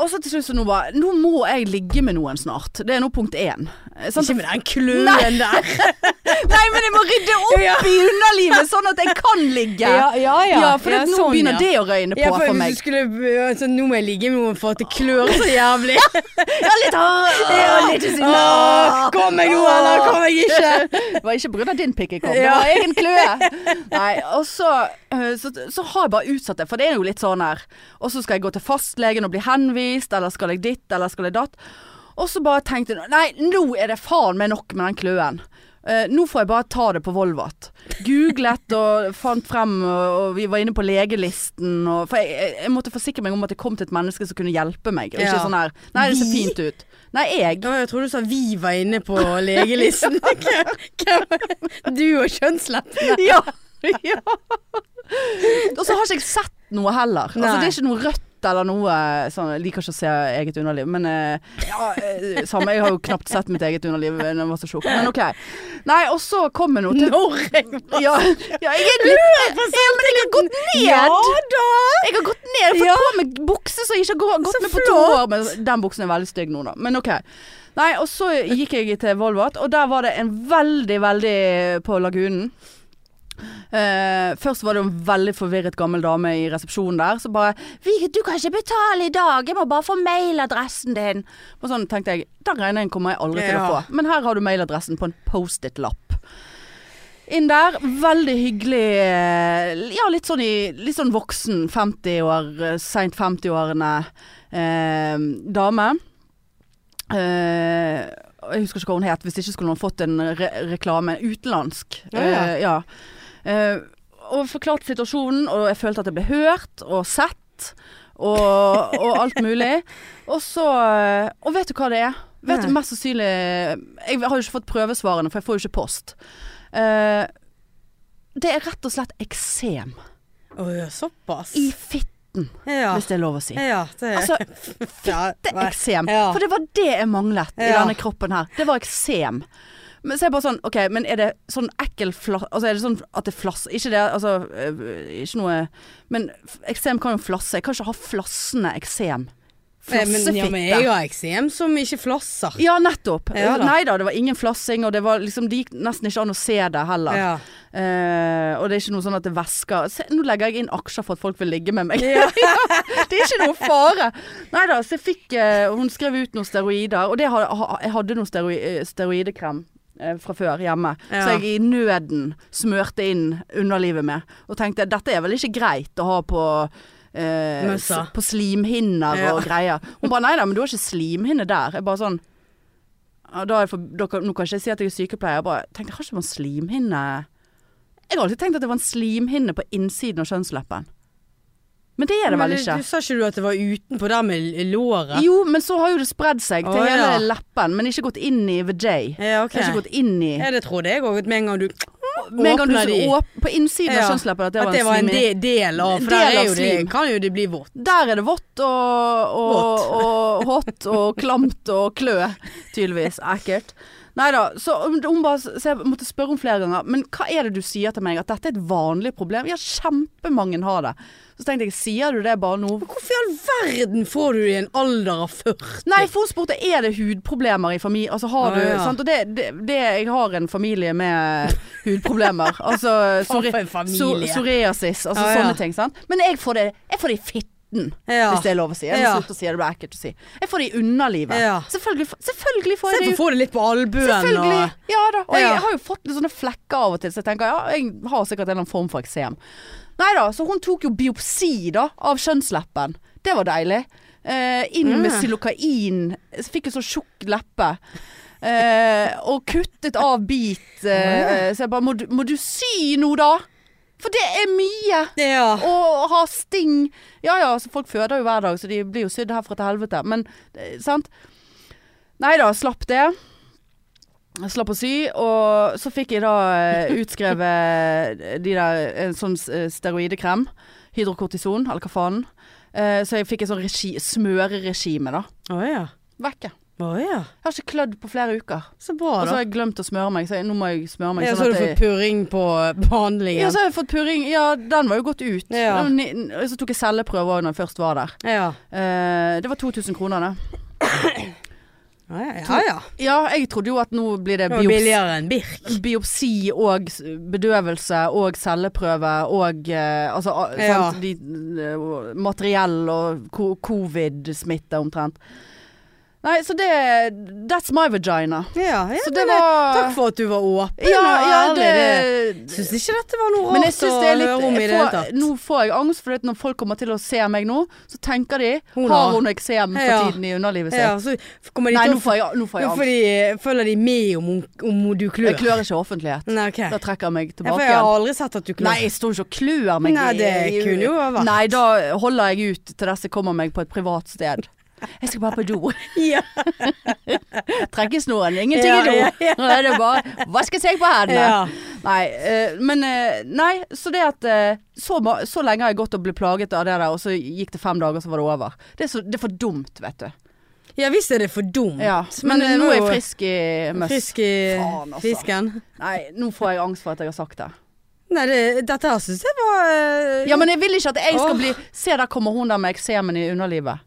Og så til slutt så nå bare Nå må jeg ligge med noen snart. Det er nå punkt én. Eh, sant?
Ikke med den kløen der.
Nei, men jeg må rydde opp
[LAUGHS] Ja.
i underlivet, sånn at jeg kan ligge.
ja,
Ja, for at nå
sånn,
begynner
ja.
det å røyne på
Ja, for
for,
hvis
meg.
du skulle altså, Nå må jeg ligge med noen for at det klør så [LAUGHS] jævlig.
Ja, litt hardere. Ja, litt sånn,
Åh,
ah.
kom jeg nå, eller kom jeg ikke?
Det var ikke pga. din pikk jeg kom,
Ja.
det var egen kløe. [LAUGHS] Nei, og så, eh, så, så har jeg bare utsatt det, for det er jo litt sånn her Og så skal jeg gå til fastlegen og bli henvist, avvist, eller skal jeg ditt, eller skal jeg datt? Og så bare tenkte jeg Nei, nå er det faen meg nok med den kløen. Eh, nå får jeg bare ta det på Volvat. Googlet og fant frem, og, og vi var inne på legelisten. Og, for jeg, jeg, jeg måtte forsikre meg om at jeg kom til et menneske som kunne hjelpe meg. Og ikke
Ja.
sånn her Nei, det ser
Vi?
fint ut. Nei, jeg.
Ja, jeg trodde du sa vi var inne på
[LAUGHS]
legelisten. Hvem- hvem- du og kjønnsleppene.
Ja.
[LAUGHS]
ja. Og så har ikke jeg sett noe heller. Altså,
Nei.
det er ikke noe rødt eller noe sånn. Jeg liker ikke å se eget underliv, men eh, ja, eh, Samme, jeg har jo knapt sett mitt eget underliv da jeg var så tjukk, men OK. Nei, og så kom jeg nå til
Når jeg var
ja, ja, jeg er litt ja, men jeg har gått ned!
Ja da!
Jeg har gått ned, jeg har fått
Ja.
på meg bukse som jeg ikke har gå- gått
Så
med på to år. Men den buksen er veldig stygg nå, da. Men OK. Nei, og så gikk jeg til Volvat, og der var det en veldig, veldig på lagunen. Eh, først var det en veldig forvirret gammel dame i resepsjonen der som bare vi, 'Du kan ikke betale i dag, jeg må bare få mailadressen din.' Og sånn tenkte jeg, den regningen kommer jeg aldri til å
Ja.
få. Men her har du mailadressen på en Post-It-lapp. Inn der. Veldig hyggelig eh, Ja, litt sånn, i, litt sånn voksen 50-år, eh, sent 50-årene eh, dame. Eh, jeg husker ikke hva hun het, hvis ikke skulle hun fått en re reklame utenlandsk.
Ja, ja.
Eh, ja. Eh, og forklarte situasjonen, og jeg følte at jeg ble hørt og sett. Og, og alt
[LAUGHS]
mulig. Og så eh, Og vet du hva det er? Vet du
Nei.
mest sannsynlig Jeg har jo ikke fått prøvesvarene, for jeg får jo ikke post. Eh, det er rett og slett eksem
Å ja, såpass.
i fitten,
Ja.
hvis det er lov å si.
ja det
Altså,
ja, nei.
fitteeksem.
Ja.
For det var det jeg manglet i
Ja.
denne kroppen her. Det var eksem. Men så er jeg bare sånn OK, men er det sånn ekkel flass... Altså er det sånn at det flasser Ikke det, altså øh, Ikke noe Men f- eksem kan jo flasse. Jeg kan ikke ha flassende eksem.
Nei, men, ja, men jeg
Flassefitte.
har eksem som ikke flasser.
Ja, nettopp.
Ja da.
Nei da, det var ingen flassing, og det, var liksom, det gikk nesten ikke an å se det heller.
Ja.
Eh, og det er ikke noe sånn at det væsker se, Nå legger jeg inn aksjer for at folk vil ligge med meg. [LAUGHS] det er ikke noe fare. Nei da, så jeg fikk eh, Hun skrev ut noen steroider, og det har, ha, jeg hadde noen steroi, eh, steroidekrem eh, fra før hjemme.
Ja.
Så jeg i nøden smørte inn underlivet med. Og tenkte dette er vel ikke greit å ha på eh,
Møssa.
s- På slimhinner og greier. Hun bare nei da, men du har ikke slimhinne der. Jeg bare sånn ja, da er det for, da, kan- nå kan ikke jeg si at jeg er sykepleier. Jeg bare tenkte, har ikke man slimhinne Jeg har alltid tenkt at det var en slimhinne på innsiden av kjønnsleppen. Men det er det vel
Men
ikke.
Du sa ikke du at det var utenpå der med l- låret?
Jo, men så har jo det spredd seg til
Å,
hele
ja.
leppen, men ikke gått inn i VJ.
Ja, ok.
Jeg har ikke gått inn i
Ja, det trodde jeg òg. Med en gang du
Med en gang du
åpner de.
så åp- på innsiden
Ja,
av kjønnsleppen at det var
at det var en
en slimhinne.
de del av For
Del
der
av
er jo det,
slim.
kan jo det bli vått.
Der er det vått og, og, [LAUGHS] og hot og klamt og klø, tydeligvis. Ekkelt. Nei da, så, hun bare, så jeg måtte spørre om flere ganger. Men hva er det du sier til meg? At dette er et vanlig problem? Ja, kjempemange har det. Så tenkte jeg, sier du det bare nå?
Hvorfor i all verden får du det i en alder av 40?
Nei, for hun spurte er det hudproblemer i familien. Altså har
Å,
du
ja.
sant? Og det, det, det Jeg har en familie med
[LAUGHS]
hudproblemer. Altså
Faen
psori-
for en familie.
psor- psoriasis, altså
Å, ja.
sånne ting. sant? Men jeg får det, jeg får det i fitten.
Ja.
Hvis det er lov å si. Jeg må
Ja.
slutte å si det, det blir ekkelt å si. Jeg får det i underlivet.
Ja.
Selvfølgelig, f- selvfølgelig får jeg
Se
det.
på
i-
få det litt på albuen
Selvfølgelig.
og
Ja da. Og
Ja.
jeg har jo fått litt sånne flekker av og til, så jeg tenker ja, jeg har sikkert en eller annen form for eksem. Nei da, så hun tok jo biopsi da, av kjønnsleppen. Det var deilig. Eh, inn med xylokain. Så Fikk en så tjukk leppe. Eh, og kuttet av bit. Eh, så jeg bare må du, må du sy nå, da? For det er mye!
Ja.
Og ha sting. Ja ja, altså folk føder jo hver dag, så de blir jo sydd herfra til helvete. Men eh, sant. Nei da, slapp det. Jeg slapp å sy, og så fikk jeg da eh, utskrevet eh, de der en sånn eh, steroidekrem. Hydrokortison, eller hva faen. Eh, Så jeg fikk et sånn regi, smøreregime, da.
Å ja.
Vekke.
Å ja.
Jeg har ikke klødd på flere uker.
Så bra,
Og så
da.
har jeg glemt å smøre meg, så jeg, nå må jeg smøre meg.
ja,
sånn
så har
at
du
jeg-
fått purring på [LAUGHS] behandlingen.
ja, så har jeg fått purring. Ja, den var jo gått ut.
Ja.
Den- Og så tok jeg celleprøver òg når jeg først var der.
ja.
Eh, det var 2000 kroner, det.
Ja, ja, ja, ja.
Ja, jeg trodde jo at nå blir det
Det var
biops
billigere enn Birk.
biopsi og s- bedøvelse og celleprøve og eh, altså a-
Ja.
sant, de, eh, materiell og ko covid-smitte omtrent. Nei, så det That's my vagina.
Ja, ja,
Så det
men, eh,
var-
Takk for at du var åpen
Ja, ja,
og ærlig. Det...
det
Syns ikke dette var noe
Men jeg
rart å
synes det er litt
høre om i
jeg
det hele
får,
tatt.
Nå får jeg angst, for når folk kommer til å se meg nå, så tenker de
Hun har-
Har hun eksem for
Ja.
tiden i underlivet sitt?
Ja, så kommer de
Nei,
til å-
nå får jeg, nå får jeg
Jo,
angst.
fordi eh, følger de med om, hun- om du klør.
Jeg klør ikke i offentlighet.
Nei, ok.
Da trekker jeg meg
Ja, for
tilbake
jeg har
igjen.
aldri sett at du klør.
Nei, jeg står ikke og klør meg.
Nei,
i-
det
i-
kunne jo ha vært.
Nei, da holder jeg ut til disse kommer meg på et privat sted. Jeg skal bare på do.
Ja.
Trekke snoren. Ingenting
Ja,
i do.
ja,
Nå er det bare vaske seg på hendene.
Ja.
Nei, eh, men eh, Nei, så det at eh, så, ma- så lenge har jeg gått og blitt plaget av det der, og så gikk det fem dager, så var det over. Det er, så, det er for dumt, vet du.
ja, visst er det for dumt.
Ja, men
det
eh, nå
var
er jeg
jo
frisk i møss.
frisk i
Faen, altså.
fisken.
Nei, nå får jeg angst for at jeg har sagt det.
Nei, det, dette her syns jeg var eh,
Ja, men jeg vil ikke at jeg skal
Åh.
bli Se, der kommer hun der med eksemen i underlivet.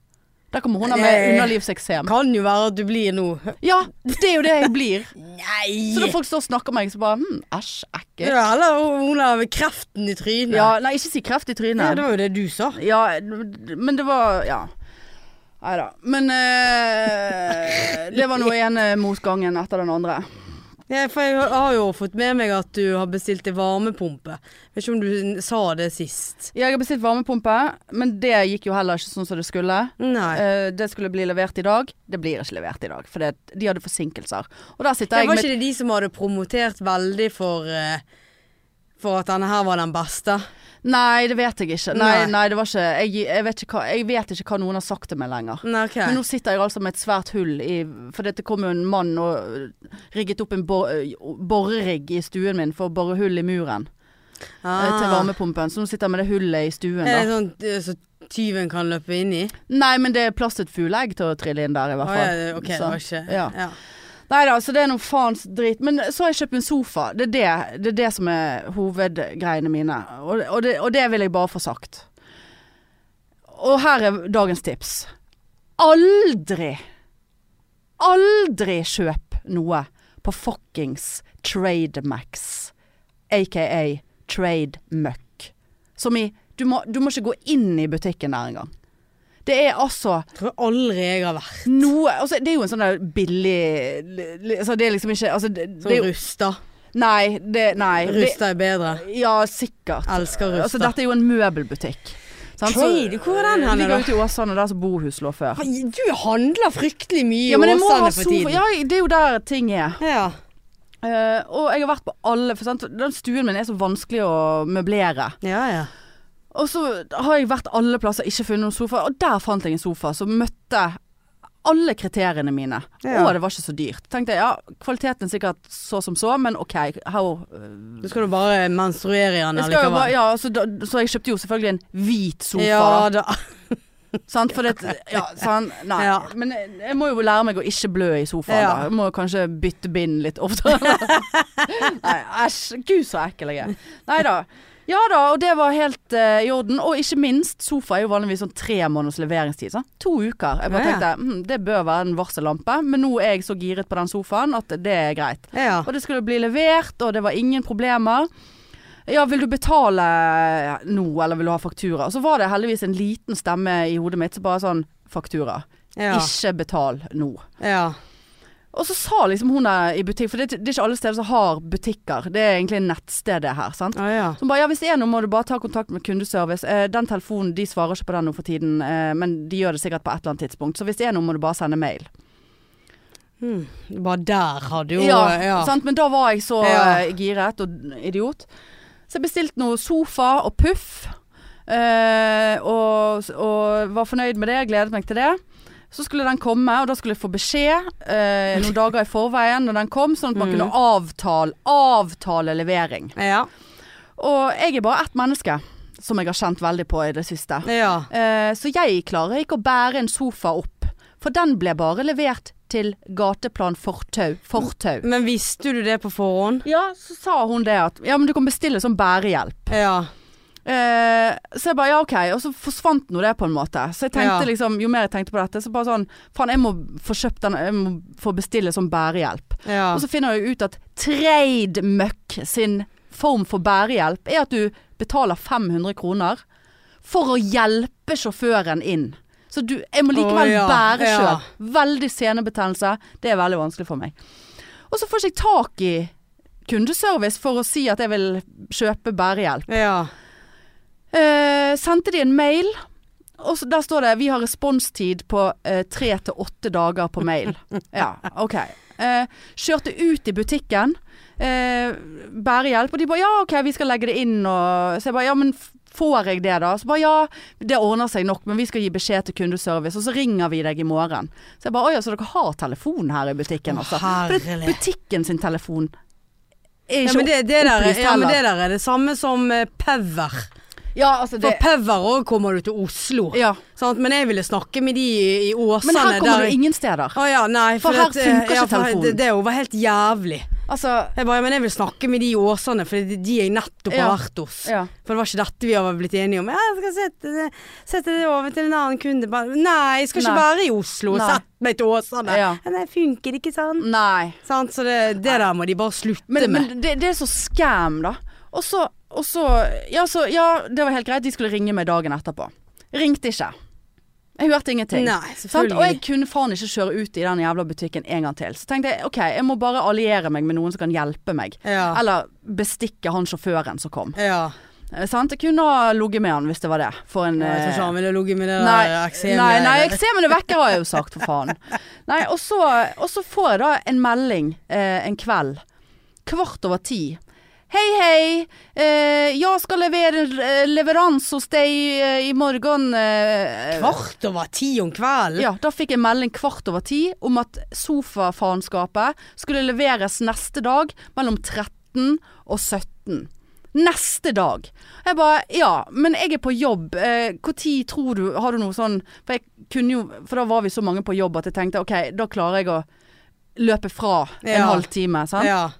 Der kommer hun der med
Nei.
underlivseksem.
Kan jo være at du blir nå
Ja, det er jo det jeg blir.
Nei!
Så når folk står og snakker om meg, så bare hm, æsj, ekkelt.
ja, eller hun har kreften i trynet.
Ja, nei, ikke si kreft i
Ja, det
trynet.
var jo det du sa.
Ja, men det var Ja. Nei da. Men eh, det var nå ene motgangen etter den andre.
Ja, for jeg har jo fått med meg at du har bestilt en varmepumpe. Vet ikke om du sa det sist.
Jeg har bestilt varmepumpe, men det gikk jo heller ikke sånn som det skulle.
Nei.
Eh, det skulle bli levert i dag. Det blir ikke levert i dag, for det, de hadde forsinkelser. Og der sitter
Det
jeg
var
med
ikke det de som hadde promotert veldig for eh, For at denne her var den beste?
Nei, det vet jeg ikke. Nei,
Nei.
nei det var ikke jeg, jeg, vet ikke hva, jeg vet ikke hva noen har sagt til meg lenger.
Nei, ok.
Men nå sitter jeg altså med et svært hull i For det kom jo en mann og øh, rigget opp en bor, øh, borerigg i stuen min for å bore hull i muren øh, til varmepumpen. Så nå sitter jeg med det hullet i stuen,
Er det
da.
sånn Ah. eh, så tyven kan løpe inn i?
Nei, men det er plass til et fugleegg til å trille inn der, i
Å,
hvert
ja,
fall.
det- ok, det
Så,
var ikke
ja.
ja.
Nei da, så altså, det er noe faens drit. Men så har jeg kjøpt en sofa. Det er det, det, er det som er hovedgreiene mine. Og, og, det, og det vil jeg bare få sagt. Og her er dagens tips. Aldri, aldri kjøp noe på fuckings Trademax. Aka Trademøkk. Som i du må, du må ikke gå inn i butikken der engang. Det er altså
Tror aldri jeg har vært
noe altså, Det er jo en sånn der billig li- li- altså, Det er liksom ikke altså, det, det
så
er jo,
rusta.
Nei, det, nei det,
Rusta er bedre.
Ja, sikkert.
Elsker rusta.
Altså, dette er jo en møbelbutikk. sant? Så-
Trade, hvor er den hen,
Ligger
da?
ute i Åsane, der som Bohus lå før.
Du handler fryktelig mye
Ja, men jeg må ha
Åsane for
sofa.
tiden.
Ja, det er jo der ting er.
Ja.
Eh, og jeg har vært på alle, for sant? den stuen min er så vanskelig å møblere.
Ja, ja.
Og så har jeg vært alle plasser, ikke funnet noen sofa. Og der fant jeg en sofa som møtte alle kriteriene mine.
Ja.
Og det var ikke så dyrt. Tenkte jeg, ja, kvaliteten er sikkert så som så, men OK. How,
Nå skal du bare menstruere i den
jeg skal jo bare,
allikevel.
ja, så, da, så jeg kjøpte jo selvfølgelig en hvit sofa.
Ja da.
Sant, for det Ja, sant. Nei.
Ja.
Men jeg, jeg må jo lære meg å ikke blø i sofaen,
Ja.
da. Jeg må kanskje bytte bind litt
[LAUGHS]
oftere. Nei, æsj. Gud, så ekkel jeg er. Nei da. Ja da, og det var helt eh, i orden. Og ikke minst, sofa er jo vanligvis sånn tre måneders leveringstid. Sant? To uker. Jeg bare
Ja, ja.
tenkte hm, det bør være en varsellampe, men nå er jeg så giret på den sofaen at det er greit.
Ja.
Og det skulle bli levert, og det var ingen problemer. Ja, vil du betale nå, eller vil du ha faktura? Og så var det heldigvis en liten stemme i hodet mitt som bare sånn Faktura.
Ja.
Ikke betal nå.
ja.
Og så sa liksom hun der i butikk, for det, det er ikke alle steder som har butikker. Det er egentlig nettstedet her, sant.
Å ja.
Så hun bare ja, hvis det er noe må du bare ta kontakt med kundeservice. Eh, den telefonen, de svarer ikke på den nå for tiden, eh, men de gjør det sikkert på et eller annet tidspunkt. Så hvis det er noe må du bare sende mail.
Hmm. Bare der har du jo eh,
ja,
ja.
Sant? Men da var jeg så
Ja.
eh, giret og idiot. Så jeg bestilte noe sofa og puff. eh, og, og var fornøyd med det, gledet meg til det. Så skulle den komme, og da skulle jeg få beskjed eh, noen dager i forveien når den kom, sånn at
Mm.
man kunne avtale, avtale levering.
Ja.
Og jeg er bare ett menneske som jeg har kjent veldig på i det siste.
ja.
Eh, så jeg klarer ikke å bære en sofa opp, for den ble bare levert til gateplan fortau. Fortau.
Men visste du det på forhånd?
Ja, så sa hun det at Ja, men du kan bestille sånn bærehjelp.
Ja.
Eh, så jeg bare ja, OK. Og så forsvant nå det på en måte. Så jeg tenkte
Ja.
liksom Jo mer jeg tenkte på dette, så bare sånn Faen, jeg må få kjøpt den Jeg må få bestille sånn bærehjelp.
Ja.
Og så finner jeg jo ut at Trademøkk sin form for bærehjelp er at du betaler 500 kroner for å hjelpe sjåføren inn. Så du, jeg må likevel
Å, ja.
bære sjøl.
Ja.
Veldig senebetennelse. Det er veldig vanskelig for meg. Og så får ikke jeg tak i kundeservice for å si at jeg vil kjøpe bærehjelp.
Ja.
Eh, sendte de en mail, og så, der står det 'Vi har responstid på eh, tre til åtte dager på
[LAUGHS]
mail'. ja, ok. Eh, kjørte ut i butikken, eh, bærehjelp, og de bare 'ja, ok, vi skal legge det inn', og Så jeg bare 'ja, men f- får jeg det da?' Så bare 'ja, det ordner seg nok, men vi skal gi beskjed til kundeservice', og så ringer vi deg i morgen. Så jeg bare 'å ja, så dere har telefon her i butikken',
Å,
altså. For det,
herlig.
butikken sin telefon er
Ja,
ikke
men det, det, der,
opplyst
ja, men
heller.
det der er det samme som eh, Pever.
Ja, altså
For
det
Pever òg kommer du til Oslo.
ja.
Sant? Men jeg ville snakke med de i, i Åsane.
Men her kommer
der-
du ingen steder.
Å ja, nei.
For her
det-
funker ikke
ja, for
telefonen.
Det, det var helt jævlig.
Altså
Jeg bare, ja, men jeg vil snakke med de i Åsane, for det er de jeg nettopp har
Ja.
vært hos.
Ja.
For det var ikke dette vi har blitt enige om. Ja, jeg skal sette det, sette det over til en annen kunde. Bare, Nei, jeg skal ikke
Nei.
være i Oslo.
Nei.
Sett meg til Åsane.
Ja.
Nei, funker ikke sånn.
Nei.
Sant, så det, det der må de bare slutte
Men,
med.
men det, det er så scam, da. Og så, og så ja, så ja, det var helt greit. De skulle ringe meg dagen etterpå. Ringte ikke. Jeg hørte ingenting.
Nei,
Sant? Og jeg
selvfølgelig.
kunne faen ikke kjøre ut i den jævla butikken en gang til. Så tenkte jeg OK, jeg må bare alliere meg med noen som kan hjelpe meg.
Ja.
Eller bestikke han sjåføren som kom.
Ja.
Eh, Sant? Jeg kunne ha ligget med han hvis det var det. For en
Jeg tror
eh,
ikke han ville ligget med det
Nei,
der eksemet.
nei, nei eksemen er vekke har jeg jo sagt, for faen. Nei, og så, og så får jeg da en melding eh, en kveld. Kvart over ti. Hei, hei. Eh, jeg skal levere eh, leveranse hos deg eh, i morgen. Eh,
Kvart over ti om kvelden?
Ja, da fikk jeg melding kvart over ti om at sofafaenskapet skulle leveres neste dag mellom 13 og 17. Neste dag. Jeg bare Ja, men jeg er på jobb. Eh, Hvor tid tror du Har du noe sånn For jeg kunne jo For da var vi så mange på jobb at jeg tenkte OK, da klarer jeg å løpe fra en
Ja.
halvtime. Sant?
Ja.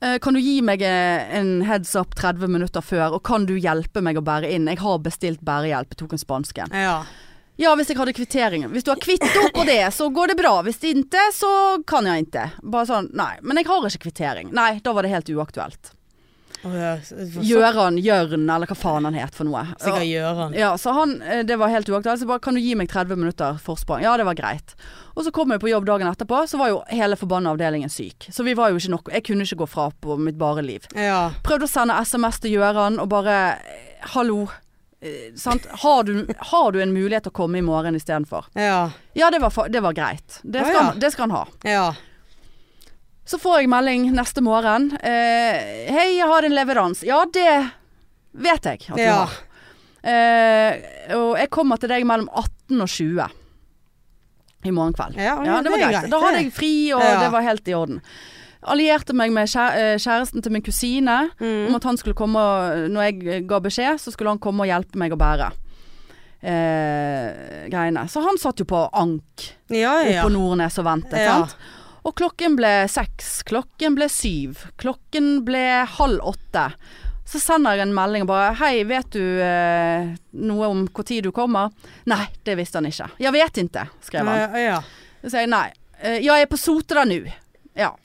Eh, Kan du gi meg eh, en heads up 30 minutter før, og kan du hjelpe meg å bære inn? Jeg har bestilt bærehjelp. Jeg tok en spansken.
ja.
Ja, hvis jeg hadde kvitteringen. Hvis du har kvitto på det, så går det bra. Hvis ikke, så kan jeg ikke. Bare sånn, nei. Men jeg har ikke kvittering. Nei, da var det helt uaktuelt.
Å, ja. Så,
Gjøran, Jørn, eller hva faen han het for noe.
sikkert Gjøran.
Ja, så han, eh, det var helt uaktuelt. Så bare, kan du gi meg 30 minutter forsprang? Ja, det var greit. Og så kom jeg på jobb dagen etterpå, så var jo hele forbanna avdelingen syk. Så vi var jo ikke nok, jeg kunne ikke gå fra på mitt bare liv.
Ja.
Prøvde å sende SMS til Gjøran og bare eh, Hallo. eh, sant? Har, du, har du en mulighet til å komme i morgen istedenfor?
Ja.
Ja, det var, fa- det var greit. Det
Å,
skal,
ja.
han- det skal han ha.
Ja.
Så får jeg melding neste morgen. Eh, 'Hei, jeg har en leverans.' Ja, det vet jeg at du
Ja.
har. Eh, og jeg kommer til deg mellom 18 og 20 i morgen kveld.
Ja, men
det var greit. Da hadde jeg fri, og
Ja.
det var helt i orden. Allierte meg med kjæ- eh, kjæresten til min kusine om
Mm.
at han skulle komme og- Når jeg eh, ga beskjed, så skulle han komme og hjelpe meg å bære eh, greiene. Så han satt jo på ank
Ja, ja.
oppå Nordnes og ventet.
Ja.
Sant? Og klokken ble seks, klokken ble syv, klokken ble halv åtte. Så sender jeg en melding og bare 'Hei, vet du eh, noe om når du kommer?' Nei, det visste han ikke. 'Jeg vet ikke', skrev han.
Ja, ja.
Så sier jeg nei. Eh, Ja, jeg er på Sotra nå. Ja.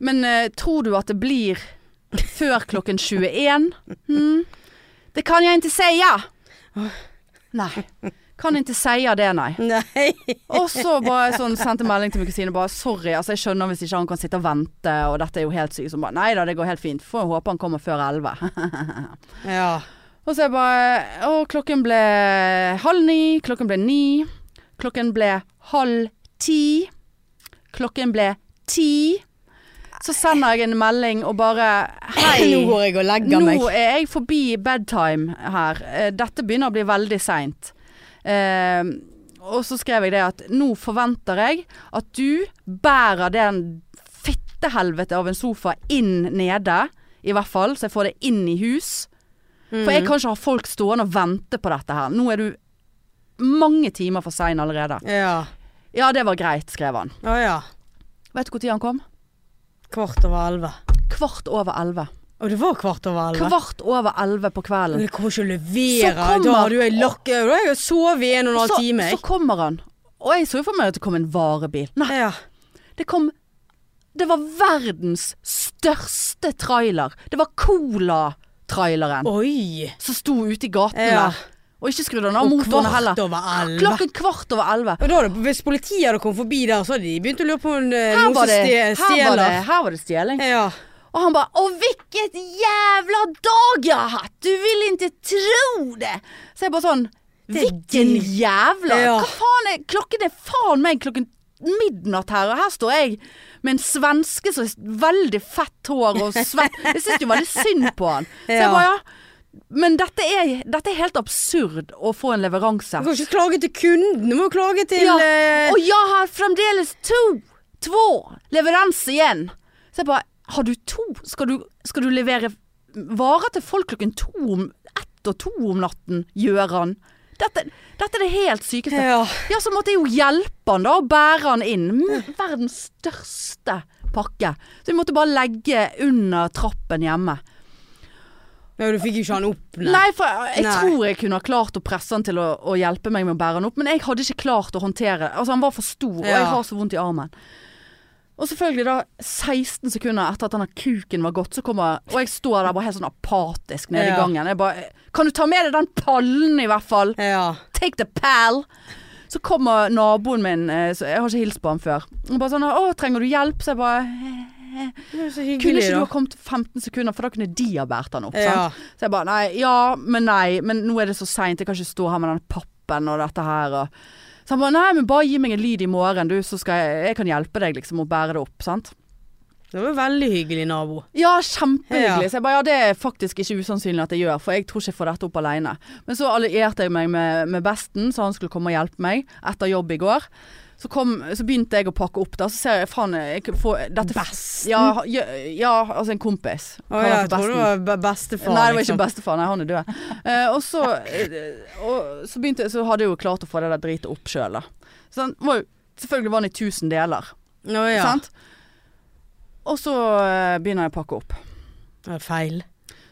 Men eh, tror du at det blir før klokken 21? Hm? Det kan jeg ikke si. Nei. Kan ikke si det, nei.
Nei.
Og så bare sånn, sendte melding til min kusine bare sorry, altså jeg skjønner hvis ikke han kan sitte og vente, og dette er jo helt sykt. Så hun bare nei da, det går helt fint. Får håpe han kommer før elleve. [LAUGHS]
Ja.
og så jeg bare Å, klokken ble halv ni, klokken ble ni, klokken ble halv ti, klokken ble ti. Så sender jeg en melding og bare Hei.
Nå går jeg og legger meg.
Nå er jeg forbi bedtime her. Eh, Dette begynner å bli veldig seint. Eh, og så skrev jeg det at nå forventer jeg at du bærer den fittehelvete av en sofa inn nede. I hvert fall, så jeg får det inn i hus. For
Mhm.
jeg kan ikke ha folk stående og vente på dette her. Nå er du mange timer for sein allerede.
Mm. Ja.
Ja, det var greit, skrev han.
Å ja.
Vet du når han kom?
Kvart over elleve.
Kvart over elleve.
Å, det var kvart over elleve.
Kvart over elleve på kvelden.
Men det kommer ikke å
Så
levere.
kommer-
Da har du ei lakke Da har jeg jo sovet i en og en halv
så,
time.
så
jeg.
kommer han. Og jeg så jo for meg at det kom en varebil. Nei,
Ja.
det kom Det var verdens største trailer. Det var Cola-traileren
Oi.
som sto ute i gaten
Ja.
der. Og ikke skrudd den av
Og
motoren
kvart
heller.
over elleve.
Klokken kvart over elleve.
Og da, hadde- hvis politiet hadde kommet forbi der, så hadde de begynt å lure på om det er
Her
noen
var,
som
det,
ste-
her, var det,
stjeler.
her var det stjeling.
Ja.
Og han bare 'Å, hvilket jævla dag jeg har hatt! Du vil ikke tro det!' Så jeg bare sånn
Det er
Hvilken
din-
jævla
Ja.
Hva faen er Klokken er faen meg klokken midnatt her, og her står jeg med en svenske som har veldig fett hår og
[LAUGHS]
svett Jeg syns jo veldig synd på han. Så jeg
Ja.
bare ja. Men dette er, dette er helt absurd å få en leveranse.
Du kan ikke klage til kunden, du må jo klage til
Ja.
eh,
Og jeg har fremdeles to, två leveranser igjen. Så jeg bare, har du to? Skal du, skal du levere varer til folk klokken to om, ett og to om natten, Gjøran? Dette, dette er det helt sykeste.
Ja.
Ja, så måtte jeg jo hjelpe han da, og bære han inn. Mm, Verdens største pakke. Så vi måtte bare legge under trappen hjemme.
ja, du fikk jo ikke han opp,
Nei, for eh, jeg
Nei.
tror jeg kunne ha klart å presse han til å, å hjelpe meg med å bære han opp, men jeg hadde ikke klart å håndtere det. Altså, han var for stor, og
Ja.
jeg har så vondt i armen. Og selvfølgelig da, 16 sekunder etter at denne kuken var gått, så kommer Og jeg står der bare helt sånn apatisk nede
Ja.
i gangen. Jeg bare Kan du ta med deg den pallen, i hvert fall?
Ja.
Take the pal. Så kommer naboen min, eh, så jeg har ikke hilst på han før. Og bare sånn 'Å, trenger du hjelp?' Så jeg bare
Det er jo så
Kunne
hyggelig,
ikke du ha
da.
kommet 15 sekunder, for da kunne de ha båret han opp.
Ja.
Sant? Så jeg bare nei, ja, men nei, men nå er det så seint, jeg kan ikke stå her med den pappen og dette her. Og... Så han bare nei, men bare gi meg en lyd i morgen, du, så skal jeg, jeg kan hjelpe deg liksom å bære det opp. sant?
Det var jo veldig hyggelig nabo.
Ja, kjempehyggelig.
Ja.
Så jeg bare ja, det er faktisk ikke usannsynlig at jeg gjør, for jeg tror ikke jeg får dette opp alene. Men så allierte jeg meg med, med besten, så han skulle komme og hjelpe meg etter jobb i går. Så, kom, så begynte jeg å pakke opp, da. Så ser jeg faen jeg får, dette,
Besten?
Ja, ja, ja, altså en kompis.
Å
Kaller
ja,
han
jeg
for
trodde det
besten.
var be- bestefar.
Nei, det var
liksom.
ikke bestefar. Nei, han er død. Eh, og så, eh, og så, begynte, jeg- så hadde jeg jo klart å få det der dritet opp sjøl, da. Så han var jo, selvfølgelig var han i tusen deler.
Å ja.
Sant? Og så eh, begynner jeg å pakke opp.
Det er feil.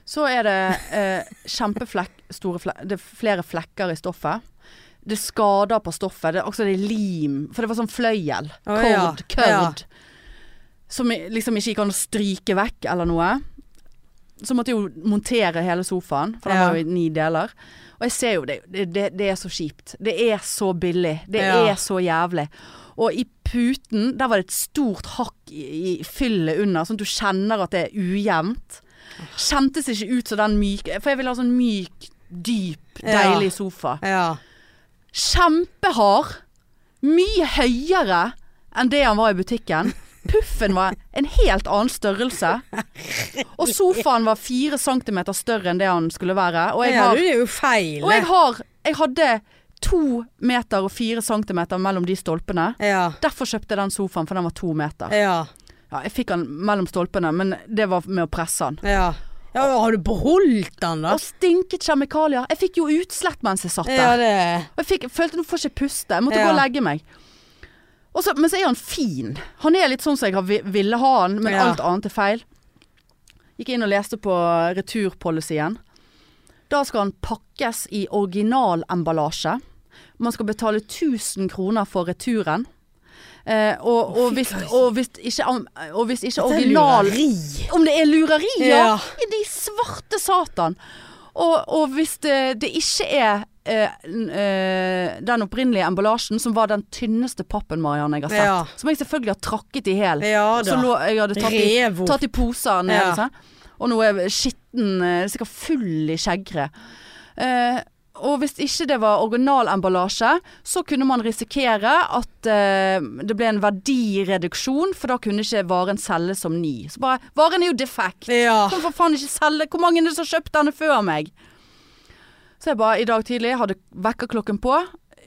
Så er det eh, kjempeflekk, store flek, det er flere flekker i stoffet. Det er skader på stoffet. Det er også det er lim. For det var sånn fløyel.
Å, ja.
Kord. Kødd. Som i- liksom ikke gikk an å stryke vekk eller noe. Så måtte jeg jo montere hele sofaen, for den
Ja.
var jo i ni deler. Og jeg ser jo det, det, det- det er så kjipt. Det er så billig. Det
Ja.
er så jævlig. Og i puten, der var det et stort hakk i, i fyllet under, sånn at du kjenner at det er ujevnt. Kjentes ikke ut som den myke For jeg ville ha sånn myk, dyp,
Ja.
deilig sofa.
Ja.
Kjempehard. Mye høyere enn det han var i butikken. Puffen var en helt annen størrelse. Og sofaen var fire centimeter større enn det han skulle være. Og jeg
ja, du,
har,
det er jo feil.
og jeg har jeg hadde to meter og fire centimeter mellom de stolpene.
eh. Ja.
Derfor kjøpte jeg den sofaen, for den var to meter.
Ja.
Ja, jeg fikk den mellom stolpene, men det var med å presse den.
Ja. ja. Har du beholdt den, da?
Og stinket kjemikalier. Jeg fikk jo utslett mens jeg satt der.
Ja, det
Og jeg fikk, jeg følte nå får jeg ikke puste. Jeg måtte
Ja.
gå og legge meg. Og så, men så er han fin. Han er litt sånn som jeg har vi- ville ha han, men
Ja.
alt annet er feil. Gikk inn og leste på returpolicyen. Da skal han pakkes i originalemballasje. Man skal betale 1000 kroner for returen. Eh, og, og, hvis, og hvis ikke, og hvis ikke
Dette er
original
lureri.
om det er lureri, ja.
Ja.
I de svarte satan. Og, og hvis det, det ikke er eh, n- eh, den opprinnelige emballasjen, som var den tynneste pappen Marianne jeg har sett,
Ja.
som jeg selvfølgelig har trakket i hæl,
Ja da.
så lå, jeg hadde tatt i,
Rev opp.
tatt i poser nede,
Ja.
sånn. og nå er jeg skitten, eh, sikkert full i skjeggre. Eh, og hvis ikke det var originalemballasje, så kunne man risikere at eh, det ble en verdireduksjon, for da kunne ikke varen selges som ny. Så bare Varen er jo defekt.
Ja.
Kan for faen ikke selge Hvor mange er det som har kjøpt denne før meg? Så jeg bare i dag tidlig hadde vekkerklokken på,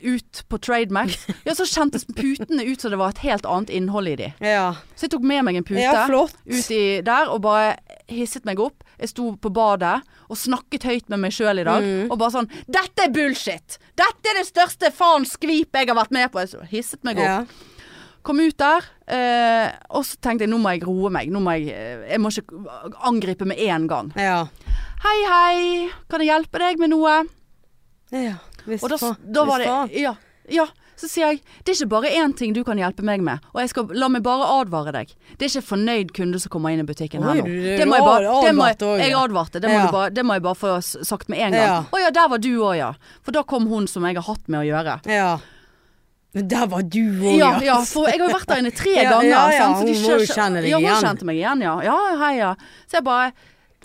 ut på Trademax. Ja, så kjentes putene ut som det var et helt annet innhold i de.
Ja.
Så jeg tok med meg en pute
ja, flott.
ut i der og bare hisset meg opp. Jeg sto på badet og snakket høyt med meg sjøl i dag.
Mm.
Og bare sånn 'Dette er bullshit! Dette er det største faen skvip jeg har vært med på!' Jeg så hisset meg opp.
Ja.
Kom ut der, eh, og så tenkte jeg 'Nå må jeg roe meg. Nå må jeg, eh, jeg må ikke angripe med en gang'.
Ja.
Hei, hei, kan jeg hjelpe deg med noe?
ja. Visst
Og da, s-
faen.
da var
Visst faen.
det ja, ja. Så sier jeg det er ikke bare én ting du kan hjelpe meg med, og jeg skal la meg bare advare deg. Det er ikke fornøyd kunde som kommer inn i butikken
Oi,
her nå.
du- du
Det må jeg bare,
advarte
det må jeg,
også, ja.
jeg advarte, det må,
Ja.
du bare, det må jeg bare få s- sagt med en gang.
Ja.
Å ja, der var du òg, ja. For da kom hun som jeg har hatt med å gjøre.
Ja. Men der var du òg,
Ja, ja, for jeg har jo vært der inne tre
[LAUGHS] Ja,
ganger.
ja, ja,
sant, så de
hun må jo
skjø-
kjenne deg
ja,
igjen.
Hun kjente meg igjen, ja. Ja, hei, ja. Så jeg bare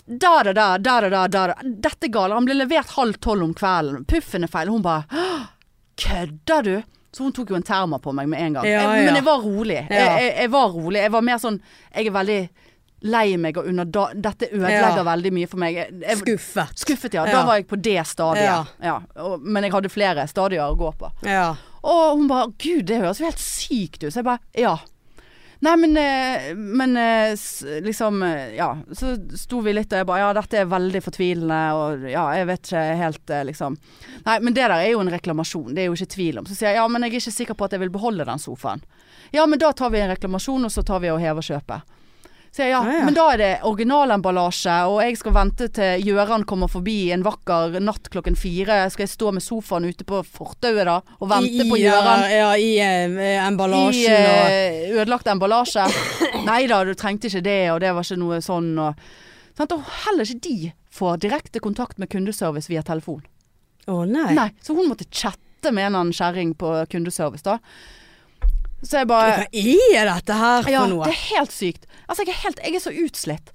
da, da, da, da, da, da, da, da. Dette er galt. Han ble levert halv tolv om kvelden. Puffen er feil. Hun bare «Åh, Kødder du? Så hun tok jo en termer på meg med en gang.
Ja,
jeg,
ja.
men jeg var rolig. Jeg,
Ja.
jeg, jeg var rolig. Jeg var mer sånn Jeg er veldig lei meg og under da, Dette ødelegger
Ja.
veldig mye for meg. Jeg, jeg,
Skuffet.
skuffet, ja.
Ja.
Da var jeg på det stadiet.
Ja.
Ja. Og, men jeg hadde flere stadier å gå på.
Ja.
Og hun bare 'Gud, det høres jo helt sykt ut'. Så jeg bare 'Ja'. Nei, men, eh, men eh, s- liksom eh, Ja. Så sto vi litt og jeg bare 'Ja, dette er veldig fortvilende', og ja, jeg vet ikke helt, eh, liksom. Nei, men det der er jo en reklamasjon. Det er jo ikke tvil om. Så sier jeg 'Ja, men jeg er ikke sikker på at jeg vil beholde den sofaen'. Ja, men da tar vi en reklamasjon, og så tar vi og hever kjøpet. Så jeg, ja,
Ja, ja.
men da er det originalemballasje, og jeg skal vente til Gjøran kommer forbi en vakker natt klokken fire. Skal jeg stå med sofaen ute på fortauet da, og vente på Gjøran?
Ja, i eh,
I
emballasjen og
eh, ødelagt
[LAUGHS]
emballasje. Nei da, du trengte ikke det, og det var ikke noe sånn. Og, sant? og heller ikke de får direkte kontakt med kundeservice via telefon.
Å nei.
Nei, Så hun måtte chatte med en eller annen kjerring på kundeservice, da. Så jeg bare
Hva er dette her for
ja,
noe?
det er helt sykt. Altså, jeg er, helt, jeg er så utslitt.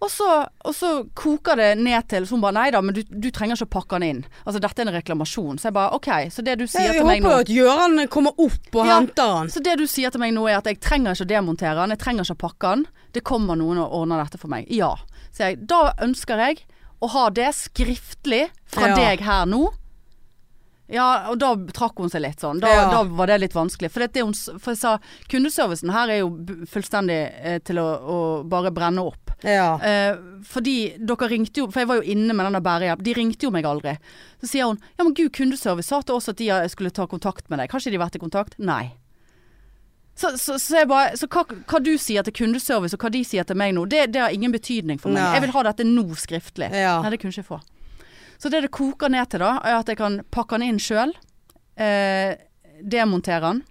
Og så, og så koker det ned til Så hun bare Nei da, men du, du trenger ikke å pakke den inn. Altså, dette er en reklamasjon. Så jeg bare OK, så det du sier
jeg
til meg
håper
nå
jo at Gøran kommer opp og
Ja.
henter han.
så det du sier til meg nå er at jeg trenger ikke å demontere den, jeg trenger ikke å pakke den. Det kommer noen og ordner dette for meg. Ja. Så jeg, da ønsker jeg å ha det skriftlig fra
Ja.
deg her nå. Ja, og da trakk hun seg litt sånn. Da,
Ja.
da var det litt vanskelig. For, det, det hun, s- for jeg sa kundeservicen her er jo b- fullstendig eh, til å, å bare brenne opp.
Ja.
Eh, fordi dere ringte jo For jeg var jo inne med den der bærehjelp. De ringte jo meg aldri. Så sier hun Ja, men gud, kundeservice sa til oss at de eh, skulle ta kontakt med deg. Har ikke de vært i kontakt? Nei. Så, så, så, jeg bare, så hva, hva du sier til kundeservice og hva de sier til meg nå, det, det har ingen betydning for meg.
Nei.
Jeg vil ha dette nå skriftlig.
Ja.
Nei, det kunne ikke jeg få. Så det det koker ned til da, er at jeg kan pakke den inn sjøl. Eh, demontere den.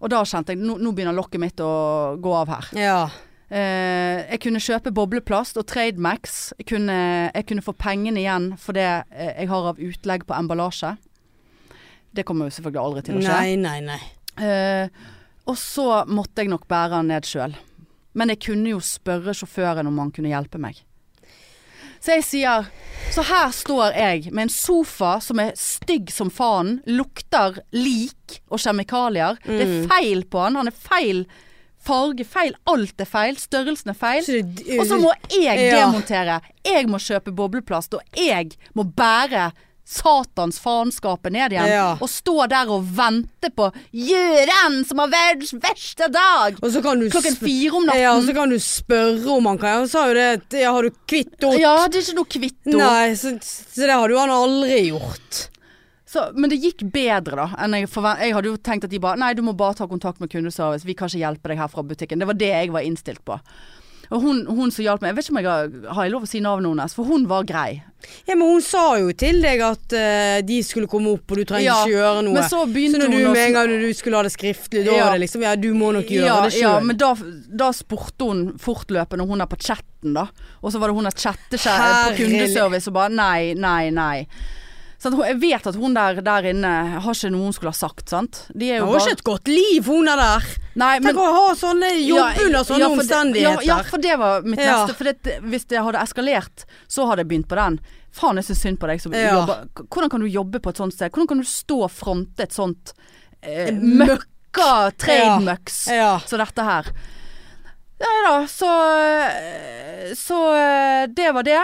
Og da kjente jeg nå, nå begynner lokket mitt å gå av her.
ja.
Eh, jeg kunne kjøpe bobleplast og Trademax. Jeg kunne, jeg kunne få pengene igjen for det eh, jeg har av utlegg på emballasje. Det kommer jo selvfølgelig aldri til å skje.
Nei, nei, nei.
Eh, og så måtte jeg nok bære han ned sjøl. Men jeg kunne jo spørre sjåføren om han kunne hjelpe meg. Så jeg sier Så her står jeg med en sofa som er stygg som faen, lukter lik og kjemikalier. Det er feil på han. Han er feil farge, feil. Alt er feil. Størrelsen er feil.
Så det-
Og så må jeg
Ja.
demontere. Jeg må kjøpe bobleplast, og jeg må bære satans faenskapet ned igjen.
Ja.
Og stå der og vente på Gjøran som har verdens verste dag!
Og så kan du
Klokken
sp-
fire om
Ja, og
natten.
så kan du spørre om han kan Han sa jo det at ja, har du kvitt henne?
Ja, det er ikke noe kvitto.
Nei, så, så det hadde jo han aldri gjort.
Så, men det gikk bedre da enn jeg forvent... Jeg hadde jo tenkt at de bare Nei, du må bare ta kontakt med kundeservice. Vi kan ikke hjelpe deg her fra butikken. Det var det jeg var innstilt på. Og hun, hun som hjalp meg Jeg vet ikke om jeg har, har jeg lov å si navnet hennes, for hun var grei.
Ja, men hun sa jo til deg at eh, de skulle komme opp, og du trenger
Ja,
ikke gjøre noe.
men så begynte hun
når du
å
med
sn-
en gang du skulle ha det skriftlig, da
Ja.
var det liksom Ja, du må nok gjøre
ja,
det sjøl.
Ja, men da, da spurte hun fortløpende om hun er på chatten, da. Og så var det hun der chattekjære på
Herlig.
kundeservice og bare nei, nei, nei. Så at hun, jeg vet at hun der, der inne har ikke noe hun skulle ha sagt, sant. De er jo
Hun har jo
bare
ikke et godt liv, hun er der.
Nei, men-
Tenk å ha sånne jobbe
ja,
under sånne
ja, for det-
omstendigheter.
Ja, ja, for det var mitt
Ja.
neste. For det, hvis det hadde eskalert, så hadde jeg begynt på den. Faen, jeg syns synd på deg som
Ja.
jobber. K- Hvordan kan du jobbe på et sånt sted? Hvordan kan du stå og fronte et sånt eh, møkka trademøks
Ja.
som dette her? Nei da, så eh, Så eh, det var det.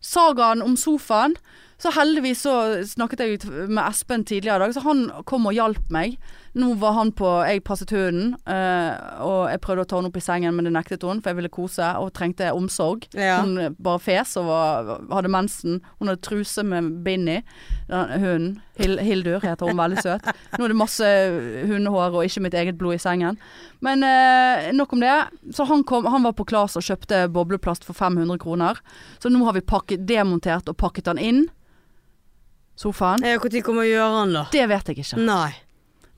Sagaen om sofaen. Så heldigvis så snakket jeg ut med Espen tidligere i dag, så han kom og hjalp meg. Nå var han på Jeg passet hunden, eh, og jeg prøvde å ta henne opp i sengen, men det nektet hun, for jeg ville kose og trengte omsorg.
Ja.
Hun eh, bare fes og var, hadde mensen. Hun hadde truse med bind i. Den Hunden. Hil, Hildur heter hun, veldig søt. Nå er det masse hundehår og ikke mitt eget blod i sengen. Men eh, nok om det. Så han, kom, han var på Klas og kjøpte bobleplast for 500 kroner. Så nå har vi pakket, demontert og pakket den inn. Sofaen.
Når kommer Gjøran, da?
Det vet jeg ikke.
Nei.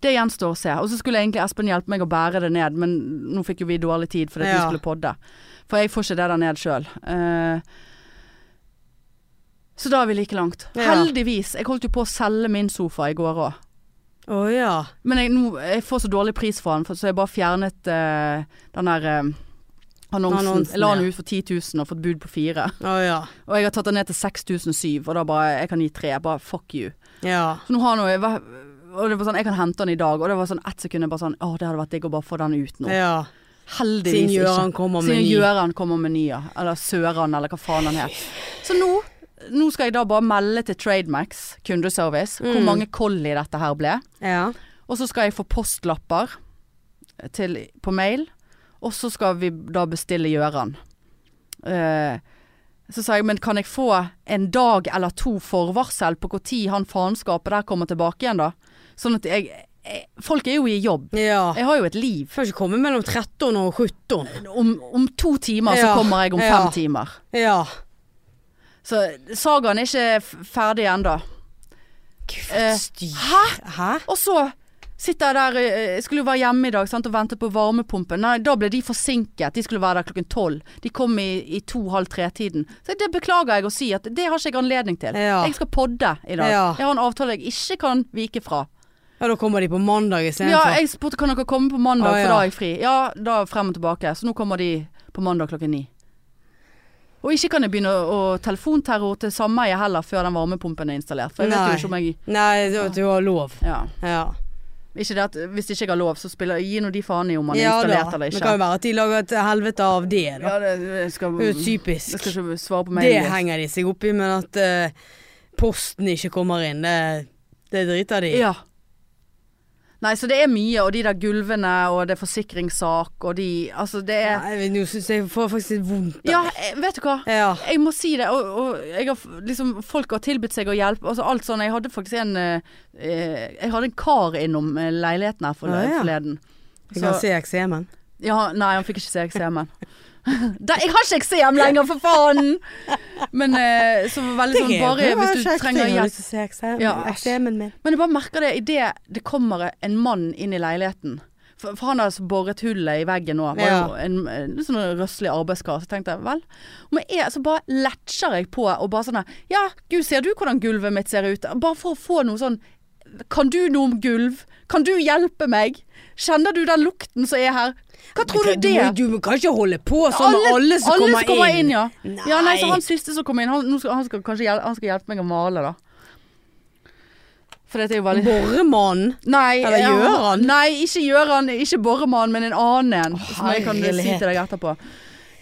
Det gjenstår å se. Og så skulle egentlig Espen hjelpe meg å bære det ned, men nå fikk jo vi dårlig tid fordi at vi
Ja.
skulle podde. For jeg får ikke det der ned sjøl. så da er vi like langt.
Ja.
Heldigvis. Jeg holdt jo på å selge min sofa i går òg.
Å ja.
Men jeg, nå, jeg får så dårlig pris for den, for, så jeg bare fjernet eh, den der eh, annonsen.
Annonsen,
Jeg la den
ja.
ut for 10 000 og fått bud på fire.
Å ja.
Og jeg har tatt den ned til 6007, og da bare Jeg kan gi tre. Bare fuck you.
Ja.
Så nå har nå jeg vært- og det var sånn, Jeg kan hente den i dag, og det var sånn ett sekund jeg bare sånn Å, det hadde vært digg å bare få den ut nå.
ja.
Heldigvis
Siden
ikke.
Gjøran kommer med
Siden
ny.
Gjøran kommer med nye. Eller Søran, eller hva faen han het. Så nå, nå skal jeg da bare melde til Trademax kundeservice hvor
Mm.
mange kolli dette her ble.
Ja.
Og så skal jeg få postlapper til, på mail, og så skal vi da bestille Gjøran. Eh, så sa jeg, men kan jeg få en dag eller to forvarsel på når han faenskapet der kommer tilbake igjen, da? Sånn at jeg, jeg Folk er jo i jobb.
ja.
Jeg har jo et liv.
Får ikke komme mellom 13 og 17.
Om, om to timer så
Ja,
kommer jeg om fem
ja.
timer.
Ja.
Så sagaen er ikke f- ferdig ennå.
Gud,
for et
Hæ? Hæ?
Og så sitter jeg der, eh, jeg skulle jo være hjemme i dag sant, og vente på varmepumpen. Nei, da ble de forsinket. De skulle være der klokken tolv. De kom i, i to-halv tre-tiden. Så det beklager jeg å si, at det har ikke jeg anledning til.
Ja.
Jeg skal podde i dag.
Ja.
Jeg har en avtale jeg ikke kan vike fra.
Ja, da kommer de på mandag
Ja,
istedenfor.
jeg spurte kan dere komme på mandag,
Å, ja.
for da er jeg fri. Ja, da frem og tilbake. Så nå kommer de på mandag klokken ni. Og ikke kan jeg begynne å, å telefonterror til sameiet heller før den varmepumpen er installert. For jeg vet
Nei.
jo ikke om jeg
Nei, du, du har lov.
Ja.
Ja.
Ikke det at hvis ikke jeg har lov, så spiller Gi nå de faen i om han er
ja
installert
da.
eller ikke.
Det kan jo være at de lager et helvete av det, da.
Ja, det, det skal,
Det er jo
jeg
typisk.
skal ikke svare på
Det
mailen. din.
henger de seg opp i, men at eh, posten ikke kommer inn, det, det driter de i.
Ja. Nei, så det er mye, og de der gulvene, og det er forsikringssak, og de Altså, det er
Nei, Nå syns jeg får faktisk litt vondt.
Ja, eh, vet du hva?
Ja.
Jeg må si det, og, og jeg har, f- liksom, folk har tilbudt seg å hjelpe. Altså, alt sånn, jeg hadde faktisk en eh, eh, Jeg hadde en kar innom eh, leiligheten her forle-
Ah, ja.
forleden.
Jeg kan se eksemen.
Ja, nei, han fikk ikke se eksemen. Da, jeg har ikke eksem lenger, for faen! Men eh, så var det veldig sånn bare hvis du trenger hjelp. Ja, æsj.
eksemen min.
Men jeg bare merker det idet det kommer en mann inn i leiligheten. For, for han har altså boret hullet i veggen nå. Var
Ja.
jo en, en sånn røslig arbeidskar. Så tenkte jeg vel om jeg er, Så bare letcher jeg på og bare sånn her Ja, gud, ser du hvordan gulvet mitt ser ut? Bare for å få noe sånn Kan du noe om gulv? Kan du hjelpe meg? Kjenner du den lukten som er her? Hva tror du det?
Du, må- du kan ikke holde på sånn med alle, som
alle
kommer, inn.
ja.
Nei.
ja. Nei, så han siste som kom inn, han, nå skal, han skal kanskje hjel han skal hjelpe meg å male, da. For dette er jo veldig
Borremannen.
Nei,
Eller
ja,
Gjøran?
Nei, ikke Gjøran, ikke Borremann, men en annen en. som jeg kan si
herlighet.
til deg etterpå.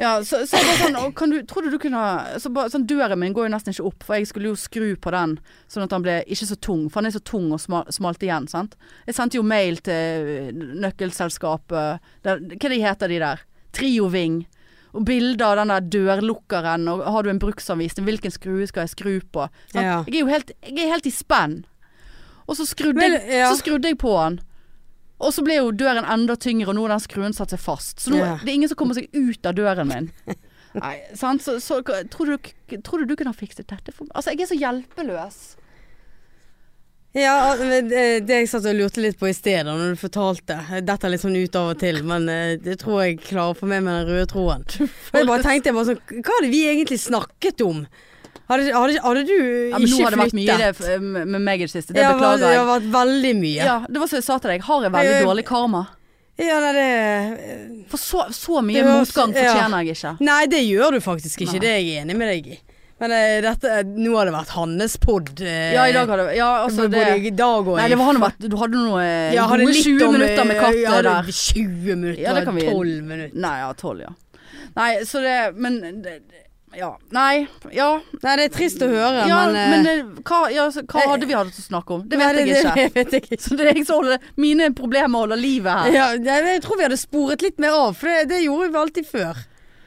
Ja, så, så jeg bare sånn, «Å, kan du, tror du du kunne ha så bare, sånn, Døren min går jo nesten ikke opp, for jeg skulle jo skru på den sånn at den ble ikke så tung. For den er så tung og smal, smalt igjen, sant. Jeg sendte jo mail til eh, nøkkelselskapet der, Hva de heter de der? Trioving. Og bilder av den der dørlukkeren, og har du en bruksanvisning, hvilken skrue skal jeg skru på? Sant?
Ja.
Jeg er jo helt, jeg er helt i spenn. Og så skrudde,
Vel,
jeg,
ja.
så skrudde jeg på den. Og så ble jo døren enda tyngre, og nå har den skruen satt seg fast. Så nå
Ja.
det er ingen som kommer seg ut av døren
[LAUGHS]
min. Nei, sant? Så, så tror, du, tror du du kunne ha fikset dette for meg? Altså, jeg er så hjelpeløs.
Ja, men det det jeg satt og lurte litt på i sted da når du fortalte Dette er litt sånn ut av og til, men eh, det tror jeg klarer å få med meg den røde tråden. Og jeg bare tenkte jeg bare sånn Hva hadde vi egentlig snakket om? Hadde, hadde, hadde du
Ja,
ikke
men nå har det
flyttet?
vært mye i det f- med med meg i det siste. Det
Ja, det
beklager
har
jeg.
vært veldig mye. Ja,
Ja, det var som jeg sa til deg. Jeg har en veldig
Eh,
dårlig karma.
nei, det
For så, så mye
det var-
motgang
ja.
fortjener jeg ikke.
Nei, det gjør du faktisk ikke.
Nei.
Det er jeg enig med deg i. Men eh, dette, nå har det vært hans pod. eh,
Ja, i dag har det Ja, altså det
Både i dag og
Nei,
i-
det var han vært Du hadde noe eh,
Ja, hadde
gode
litt
20
om, eh,
minutter med katt
ja, det-
der.
20 minutter.
Ja, det kan vi-
12 minutter.
Nei, ja, tolv, ja. Nei, så det Men det, det- ja. Nei, ja.
Nei, det er trist å høre,
ja
men, eh,
men eh, hva, ja, så, hva
eh,
hadde vi hatt å snakke om? Det
Nei,
vet jeg ikke.
Det [LAUGHS] vet jeg ikke.
Så det er jeg som holder Mine problemer holder livet
[LAUGHS]
her.
Ja, nei, men jeg tror vi hadde sporet litt mer av, for det, det gjorde vi alltid før.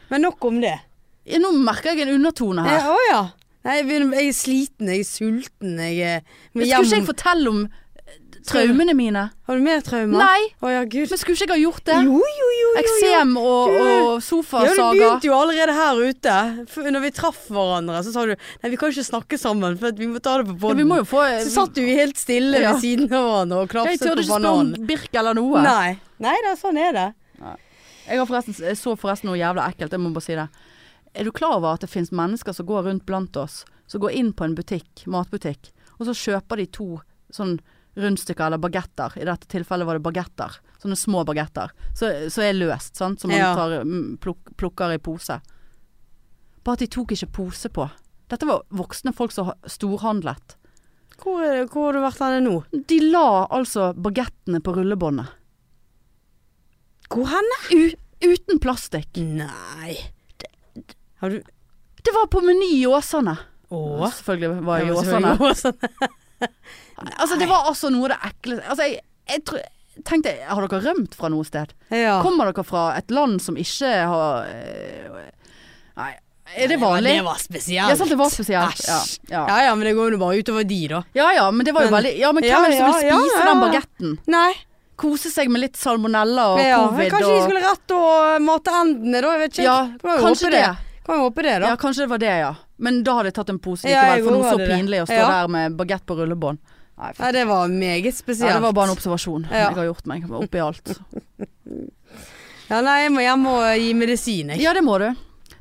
Men nok om det.
Ja, Nå merker jeg en undertone
Eh, Å
her.
ja. Nei, jeg eh, begynner- jeg er sliten, jeg er sulten, jeg er
Skulle ikke jeg fortelle om eh, Traumene mine.
Har du mer traumer?
Nei.
Å ja, gud.
Men skulle ikke jeg ha gjort det?
jo, jo, jo, jo. jo.
Eksem og, og
Ja, det
sofasaga.
begynte jo allerede her ute. For når vi traff hverandre, så sa du Nei, vi kan ikke snakke sammen, for at vi må ta det på
Ja,
poden.
vi må jo få
Så satt jo vi helt stille
Ja.
ved siden av hverandre og
Jeg
klafset
turde
på
ikke spørre om
bananen.
Birk eller noe.
Nei. Nei da, sånn er det.
Jeg, har forresten, jeg så forresten noe jævla ekkelt, jeg må bare si det. Er du klar over at det finnes mennesker som går rundt blant oss, som går inn på en butikk, matbutikk, og så kjøper de to sånn rundstykker eller bagetter, i dette tilfellet var det bagetter, sånne små bagetter, så, så er løst, sant, som man
Ja.
tar, mm, pluk, plukker i pose. Bare at de tok ikke pose på. Dette var voksne folk som ha- storhandlet.
Hvor, er det, hvor har du vært henne nå?
De la altså bagettene på rullebåndet.
Hvor henne?
U uten plastikk.
Nei. Har du
Det var på Meny i Åsane.
Å?
Selvfølgelig var jeg i
Ja,
Åsane.
selvfølgelig Åsane.
Altså, det var altså noe av det ekleste Altså, jeg, jeg tror Tenk deg, har dere rømt fra noe sted?
Ja.
Kommer dere fra et land som ikke har eh, Nei, er det
var-
vanlig?
Det var spesielt.
Ja, sant, det var spesielt. Ja,
Æsj.
ja.
Ja ja, men det går jo bare utover de, da.
ja, ja men det var jo
Men-
veldig Ja, men hvem
Ja,
er det som vil
ja, ja,
spise
ja.
den bagetten?
Nei.
Kose seg med litt salmonella og
Ja, men
covid
kanskje de
og
skulle rett og mate endene, da. Jeg vet ikke.
Ja,
Kan jo
kanskje
håpe
det.
Kan jo håpe det, da.
Ja, kanskje det var det, ja. Men da hadde jeg tatt en pose
Ja,
likevel,
jeg
for noe
også
så
hadde det.
pinlig å stå
Ja.
der med bagett på rullebånd. Nei, fy
Nei, det var meget spesielt.
ja, det var bare en observasjon
Ja.
jeg har gjort meg, oppi alt.
Ja, nei, jeg må hjem og gi medisin, jeg.
Ja, det må du.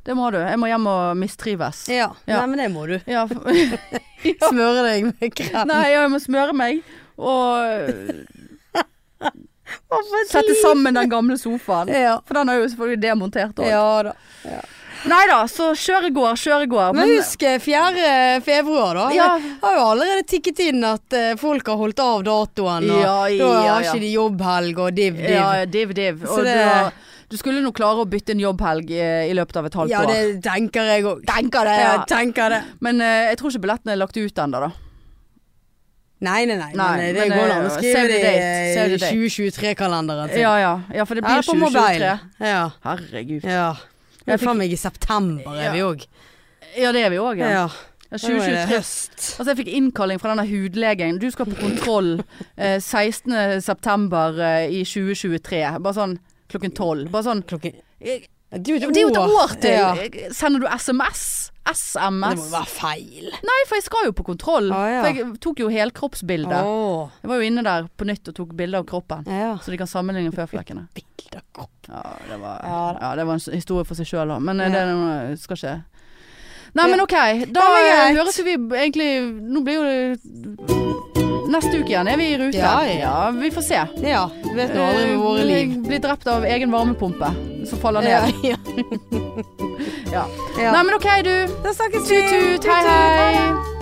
Det må du. Jeg må hjem og mistrives.
Ja.
Ja.
Nei, men det må du.
Ja, for- [LAUGHS]
Smøre deg med krem.
Nei, jeg må smøre meg og
Å, for et
sette
liv.
sammen den gamle sofaen.
Ja.
For den er jo selvfølgelig demontert òg.
ja da.
Nei da, så kjør i går, kjør i går.
Men husk eh, 4. februar, da.
Ja.
Det har jo allerede tikket inn at eh, folk har holdt av datoen, og
Ja,
da
ja,
har
ja.
ikke de jobbhelg og div-div.
ja, div, div.
Så
Og
det-
du, har- du skulle nå klare å bytte en jobbhelg eh, i løpet av et halvt
Ja,
år.
det tenker jeg òg.
Tenker det, ja.
Ja, tenker det.
Men eh, jeg tror ikke billetten er lagt ut ennå, da.
Nei, nei, nei.
Nei,
men det
men,
går an å
eh,
skrive
save the
det
date, save
i
the date.
2023-kalenderen sin.
Ja, ja. ja for det blir
Eller på mobile.
2023.
Ja.
Herregud.
ja. Det
Jeg
er faen meg i september er vi òg.
Ja, det er vi òg, ja.
Ja.
ja.
Nå er det
2023
høst.
Altså jeg fikk innkalling fra denne hudlegen. Du skal på kontroll eh, 16.9. Eh, i 2023. Bare sånn klokken tolv. Bare sånn
Klokken
eh,
Du,
Det er jo et år til!
Ja.
Sender du SMS?
Det må jo
SMS?
være feil.
Nei, for jeg skal jo på kontroll.
Ah, ja.
For jeg tok jo helkroppsbilde.
Åh.
Jeg var jo inne der på nytt og tok bilde av kroppen.
Ja.
Så de kan sammenligne føflekkene.
Bilder kropp.
Ja, det var,
Ja
ja, det var en s- historie for seg sjøl òg, men eh, det
Ja.
er noe, jeg skal ikke Nei,
Ja.
men OK. Da
Ja, men greit.
høres jo vi b- egentlig Nå blir jo det Neste uke igjen er vi i rute.
Ja, ja.
vi får se.
Ja, du vet nå aldri med våre liv.
Eh, Blir drept av egen varmepumpe som faller
Ja,
ned.
[LAUGHS] ja.
Ja.
Ja.
Nei, men OK, du.
Da snakkes vi.
Tut-tut.
Tut, tut.
Hei, hei.